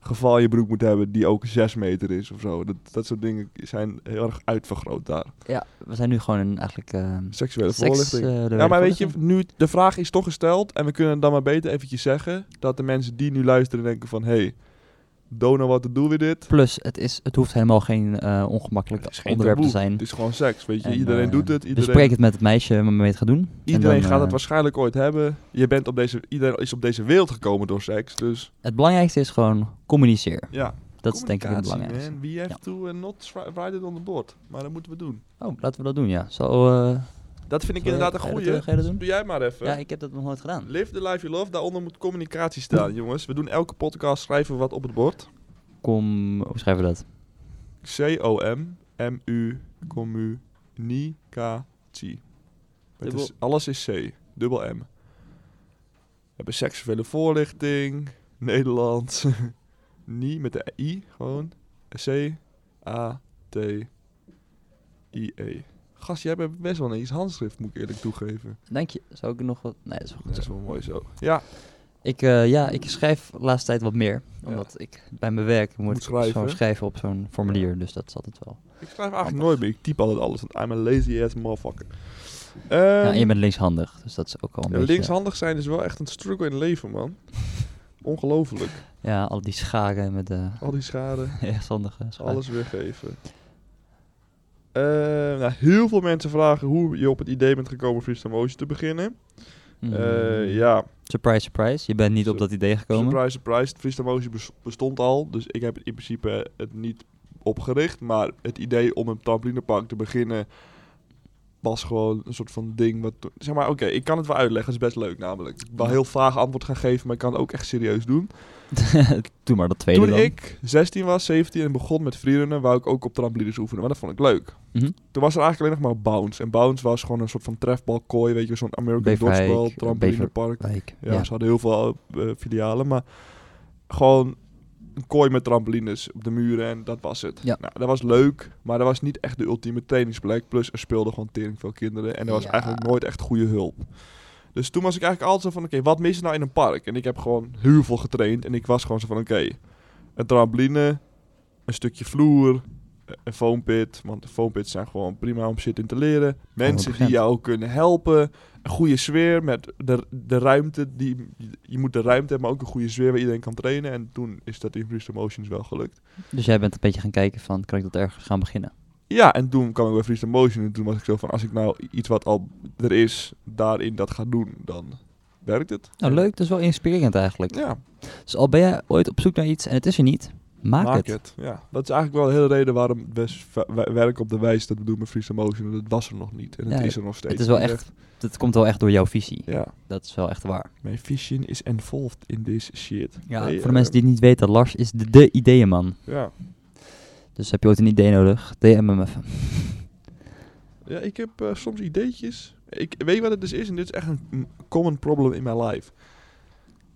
Speaker 1: geval in je broek moet hebben die ook 6 meter is of zo. Dat, dat soort dingen zijn heel erg uitvergroot daar.
Speaker 2: Ja, we zijn nu gewoon in eigenlijk eh,
Speaker 1: Seksuele
Speaker 2: seks.
Speaker 1: voorlichting.
Speaker 2: eh, de
Speaker 1: Ja, maar weet je,
Speaker 2: voorlichting.
Speaker 1: nu, de vraag is toch gesteld. En we kunnen dan maar beter eventjes zeggen dat de mensen die nu luisteren denken van... Hé, hey, Dona, wat doen we dit?
Speaker 2: Plus, het, is, het hoeft helemaal geen eh, ongemakkelijk
Speaker 1: Het is geen
Speaker 2: onderwerp
Speaker 1: taboe.
Speaker 2: te zijn.
Speaker 1: Het is gewoon seks, weet je.
Speaker 2: En,
Speaker 1: iedereen
Speaker 2: eh,
Speaker 1: doet het. Iedereen,
Speaker 2: Bespreek het met het meisje waarmee je het gaat doen. En
Speaker 1: iedereen
Speaker 2: dan,
Speaker 1: gaat het
Speaker 2: eh,
Speaker 1: waarschijnlijk ooit hebben. Je bent op deze, iedereen is op deze wereld gekomen door seks. Dus
Speaker 2: Het belangrijkste is gewoon communiceer.
Speaker 1: ja,
Speaker 2: Dat is denk ik het
Speaker 1: communicatie,
Speaker 2: belangrijkste.
Speaker 1: man. We have
Speaker 2: Ja.
Speaker 1: to eh, not try- ride it on the board. Maar dat moeten we doen.
Speaker 2: Oh, laten we dat doen, ja. Zo, eh,
Speaker 1: Dat vind ik
Speaker 2: Zal je-
Speaker 1: inderdaad
Speaker 2: ga
Speaker 1: een
Speaker 2: je dat-
Speaker 1: goeie.
Speaker 2: ga je dat doen?
Speaker 1: Doe jij maar even.
Speaker 2: ja, ik heb dat nog nooit gedaan.
Speaker 1: Live the life you love. Daaronder moet communicatie staan, jongens. We doen elke podcast schrijven we wat op het bord.
Speaker 2: Kom, hoe schrijven we dat?
Speaker 1: C-O-M-M-U communicatie. Het
Speaker 2: Dubbel-
Speaker 1: is, alles is C, dubbel M. We hebben seksuele voorlichting, Nederlands, (laughs) nie met de I gewoon, C, A, T, I, E. Gast, jij hebt best wel een iets handschrift, moet ik eerlijk toegeven.
Speaker 2: Denk je, zou ik nog wat... Nee, dat is wel goed
Speaker 1: Dat is
Speaker 2: zo.
Speaker 1: wel mooi zo. Ja,
Speaker 2: Ik, eh, ja, ik schrijf de laatste tijd wat meer.
Speaker 1: Ja.
Speaker 2: Omdat ik bij mijn werk moet,
Speaker 1: Moet schrijven.
Speaker 2: zo schrijven op zo'n formulier. Dus dat is altijd wel...
Speaker 1: ik schrijf eigenlijk nooit meer, ik typ altijd alles, want I'm a lazy ass motherfucker. Ehm,
Speaker 2: ja, en je bent linkshandig, dus dat is ook al een
Speaker 1: ja,
Speaker 2: beetje...
Speaker 1: linkshandig zijn is wel echt een struggle in het leven,
Speaker 2: (laughs)
Speaker 1: man. Ongelooflijk.
Speaker 2: Ja, al die scharen met de (laughs)
Speaker 1: Al die schade.
Speaker 2: rechtshandige scharen.
Speaker 1: Alles weggeven. Eh, nou, heel veel mensen vragen hoe je op het idee bent gekomen Freestyle Motion te beginnen.
Speaker 2: Mm.
Speaker 1: Eh, ja,
Speaker 2: Surprise, surprise. Je bent niet op
Speaker 1: Sur-
Speaker 2: dat idee gekomen.
Speaker 1: surprise, surprise. Freestyle Motion bes- bestond al, dus ik heb in principe het niet opgericht. Maar het idee om een trampolinepark te beginnen was gewoon een soort van ding. Wat, to- zeg maar, oké, ik kan het wel uitleggen, het is best leuk namelijk. Ik wil heel vaag antwoord gaan geven, maar ik kan het ook echt serieus doen.
Speaker 2: (laughs) Doe maar dat tweede
Speaker 1: Toen
Speaker 2: dan.
Speaker 1: ik 16 was, 17 en begon met freerunnen, wou ik ook op trampolines oefenen. Maar dat vond ik leuk.
Speaker 2: Mhm.
Speaker 1: Toen was er eigenlijk alleen nog maar bounce. En bounce was gewoon een soort van trefbalkooi, weet je, zo'n American
Speaker 2: Beverwijk,
Speaker 1: dodgeball,
Speaker 2: eh,
Speaker 1: trampolinepark.
Speaker 2: Like,
Speaker 1: Ja,
Speaker 2: ja.
Speaker 1: ze hadden heel veel eh, filialen, maar gewoon een kooi met trampolines op de muren en dat was het.
Speaker 2: Ja.
Speaker 1: Nou, dat was leuk, maar dat was niet echt de ultieme trainingsplek. Plus er speelden gewoon tering veel kinderen en er was
Speaker 2: Ja.
Speaker 1: eigenlijk nooit echt goede hulp. Dus toen was ik eigenlijk altijd zo van, oké, wat mis je nou in een park? En ik heb gewoon heel veel getraind en ik was gewoon zo van, oké, een trampoline, een stukje vloer, een foampit. Want de foampits zijn gewoon prima om shit in te leren. Mensen die
Speaker 2: 100%.
Speaker 1: jou kunnen helpen. Een goede sfeer met de, de ruimte. Die, je moet de ruimte hebben, maar ook een goede sfeer waar iedereen kan trainen. En toen is dat in Freestyle Motions wel gelukt.
Speaker 2: Dus jij bent een beetje gaan kijken van, kan ik dat ergens gaan beginnen?
Speaker 1: Ja, en toen kwam ik bij Freestyle Motion. En toen was ik zo van, als ik nou iets wat al er is, daarin dat ga doen, dan werkt het.
Speaker 2: Nou, leuk. Dat is wel inspirerend eigenlijk.
Speaker 1: Ja,
Speaker 2: Dus al ben jij ooit op zoek naar iets en het is er niet, maak,
Speaker 1: maak,
Speaker 2: het.
Speaker 1: het. Ja, dat is eigenlijk wel de hele reden waarom we s- we- we werken op de wijze dat we doen met Freestyle Motion. Dat was er nog niet. En het
Speaker 2: Ja,
Speaker 1: is er nog steeds.
Speaker 2: Het is wel
Speaker 1: niet
Speaker 2: echt, het komt wel echt door jouw visie.
Speaker 1: Ja.
Speaker 2: Dat is wel echt waar.
Speaker 1: Mijn vision is involved in this shit.
Speaker 2: Ja,
Speaker 1: Nee,
Speaker 2: voor de
Speaker 1: eh,
Speaker 2: mensen die het niet weten, Lars is de, de ideeënman.
Speaker 1: Ja.
Speaker 2: Dus heb je ooit een idee nodig, DM hem even.
Speaker 1: ja, ik heb eh, soms ideetjes. Ik weet wat het dus is en dit is echt een mm, common problem in mijn life.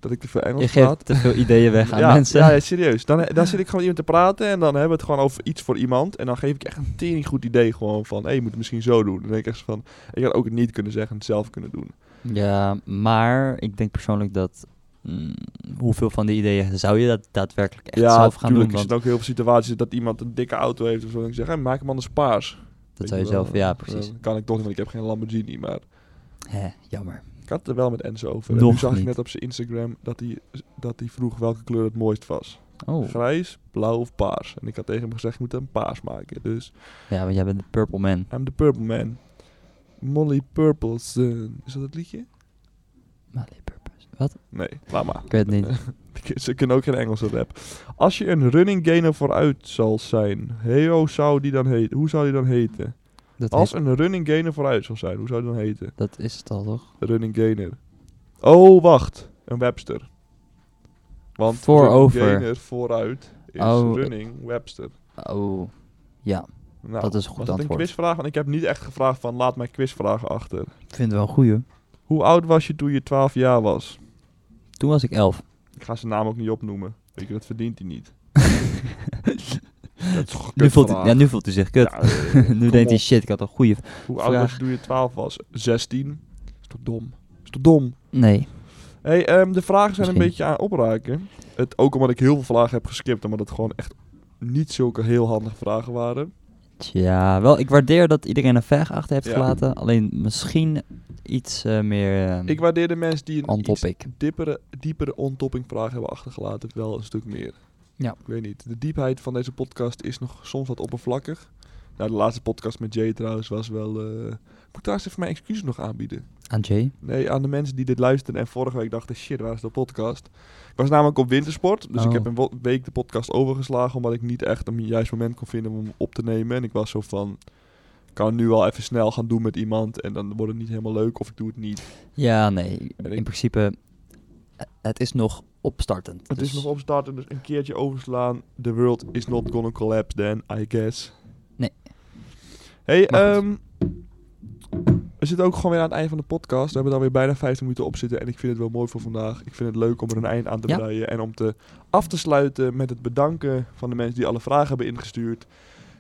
Speaker 1: Dat ik te veel Engels
Speaker 2: Je
Speaker 1: praat.
Speaker 2: geeft te veel
Speaker 1: (laughs)
Speaker 2: ideeën weg aan
Speaker 1: ja,
Speaker 2: mensen.
Speaker 1: Ja, ja, serieus. Dan, eh, dan zit ik gewoon met iemand te praten en dan hebben we het gewoon over iets voor iemand. En dan geef ik echt een tering goed idee gewoon van, hé, je moet het misschien zo doen. Dan denk ik echt van, ik had ook het niet kunnen zeggen en het zelf kunnen doen.
Speaker 2: Ja, maar ik denk persoonlijk dat... mm, hoeveel van die ideeën zou je dat daadwerkelijk echt zelf gaan doen?
Speaker 1: natuurlijk is
Speaker 2: Want
Speaker 1: het ook heel veel situaties dat iemand een dikke auto heeft of zo. En ik zeg, hé, maak hem anders paars.
Speaker 2: dat
Speaker 1: Weet
Speaker 2: zou je
Speaker 1: je wel,
Speaker 2: zelf... Ja,
Speaker 1: eh,
Speaker 2: precies.
Speaker 1: Kan ik toch niet, want ik heb geen Lamborghini, maar...
Speaker 2: Hè, jammer.
Speaker 1: had het er wel met Enzo over. En
Speaker 2: Nog
Speaker 1: nu zag ik
Speaker 2: niet.
Speaker 1: net op zijn Instagram dat hij, dat hij vroeg welke kleur het mooist was.
Speaker 2: Oh,
Speaker 1: Grijs, blauw of paars. En ik had tegen hem gezegd, je moet hem paars maken. Dus,
Speaker 2: ja, want jij bent de Purple Man.
Speaker 1: I'm the purple man. Molly Purple Sun. Is dat het liedje?
Speaker 2: Maar die Purpose. Wat?
Speaker 1: Nee, laat maar. (laughs)
Speaker 2: Ik weet het niet.
Speaker 1: Ze kunnen ook geen Engelse rap. Als je een running gainer vooruit zal zijn, Heo zou die dan heten? Hoe zou die dan heten?
Speaker 2: Dat,
Speaker 1: Als
Speaker 2: heet-
Speaker 1: een running gainer vooruit zal zijn, hoe zou die dan heten?
Speaker 2: dat is het al, toch?
Speaker 1: Running gainer. Oh, wacht. Een Webster. Want
Speaker 2: Voorover.
Speaker 1: running gainer vooruit is
Speaker 2: Oh,
Speaker 1: running Webster.
Speaker 2: Oh, ja.
Speaker 1: Nou,
Speaker 2: dat is een goed
Speaker 1: was dat een
Speaker 2: antwoord.
Speaker 1: quizvraag? Want ik heb niet echt gevraagd van laat mijn quizvragen achter.
Speaker 2: Ik vind het wel een goeie.
Speaker 1: Hoe oud was je toen je 12 jaar was?
Speaker 2: Toen was ik elf.
Speaker 1: Ik ga zijn naam ook niet opnoemen. Weet je, dat verdient hij
Speaker 2: (laughs)
Speaker 1: niet. dat is toch een
Speaker 2: Nu voelt, hij-
Speaker 1: kutvraag.
Speaker 2: ja, nu voelt hij zich kut.
Speaker 1: Ja, eh,
Speaker 2: (laughs) nu
Speaker 1: kom
Speaker 2: denkt hij,
Speaker 1: op.
Speaker 2: shit, ik had een goede...
Speaker 1: Hoe oud was je
Speaker 2: vraag.
Speaker 1: toen je 12 was? 16. Is toch dom? Is toch dom?
Speaker 2: Nee.
Speaker 1: hey, ehm, de vragen zijn een
Speaker 2: Misschien.
Speaker 1: beetje aan opraken. Het, ook omdat ik heel veel vragen heb geskipt, omdat het gewoon echt niet zulke heel handige vragen waren.
Speaker 2: Tja, wel, ik waardeer dat iedereen een vraag achter heeft
Speaker 1: Ja.
Speaker 2: gelaten. Alleen misschien iets eh, meer eh,
Speaker 1: Ik waardeer de mensen die een iets
Speaker 2: on-topic.
Speaker 1: diepere, diepere ontoppingvraag hebben achtergelaten wel een stuk meer.
Speaker 2: Ja.
Speaker 1: Ik weet niet. De diepheid van deze podcast is nog soms wat oppervlakkig. Nou, de laatste podcast met Jay trouwens was wel... eh, Ik moet trouwens even mijn excuses nog aanbieden.
Speaker 2: Aan Jay?
Speaker 1: Nee, aan de mensen die dit luisteren en vorige week dachten, shit, waar is de podcast? Ik was namelijk op wintersport, dus ik
Speaker 2: Oh.
Speaker 1: heb een wo- week de podcast overgeslagen, omdat ik niet echt een juist moment kon vinden om hem op te nemen. En ik was zo van, ik kan nu al even snel gaan doen met iemand en dan wordt het niet helemaal leuk of ik doe het niet.
Speaker 2: Ja, nee.
Speaker 1: En
Speaker 2: In
Speaker 1: ik,
Speaker 2: principe, eh, het is nog opstartend.
Speaker 1: het
Speaker 2: dus-
Speaker 1: is nog opstarten, dus een keertje overslaan. The world is not gonna collapse then, I guess.
Speaker 2: Nee.
Speaker 1: Hey,
Speaker 2: Maar goed.
Speaker 1: ehm, we zitten ook gewoon weer aan het einde van de podcast. We hebben daar weer bijna 15 minuten op zitten. En ik vind het wel mooi voor vandaag. Ik vind het leuk om er een eind aan te
Speaker 2: Ja.
Speaker 1: breien. En om te af te sluiten met het bedanken van de mensen die alle vragen hebben ingestuurd.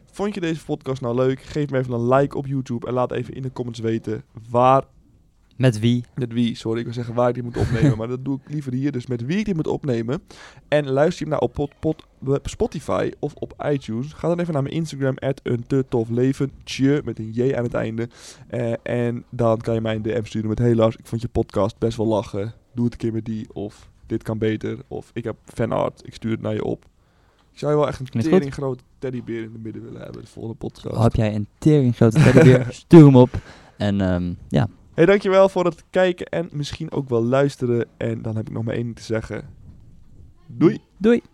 Speaker 1: Vond je deze podcast nou leuk? Geef me even een like op YouTube. En laat even in de comments weten waar
Speaker 2: Met wie?
Speaker 1: met wie, sorry, ik wil zeggen waar ik dit moet
Speaker 2: (laughs)
Speaker 1: opnemen, maar dat doe ik liever hier. Dus met wie ik dit moet opnemen. En luister je hem nou op pot, pot, op Spotify of op iTunes. Ga dan even naar mijn Instagram, at een te tof leven, tje, met een J aan het einde. Eh, en dan kan je mij een DM sturen met, hey Lars, ik vond je podcast best wel lachen. Doe het een keer met die, of dit kan beter, of ik heb fanart, ik stuur het naar je op. Ik zou je wel echt een
Speaker 2: Klinkt goed.
Speaker 1: tering grote teddybeer in de midden willen hebben, de volgende podcast.
Speaker 2: Oh, heb jij een tering
Speaker 1: (laughs)
Speaker 2: grote teddybeer? Stuur hem op. En ehm, ja,
Speaker 1: Hey, dankjewel voor het kijken en misschien ook wel luisteren. En dan heb ik nog maar één ding te zeggen. Doei!
Speaker 2: doei.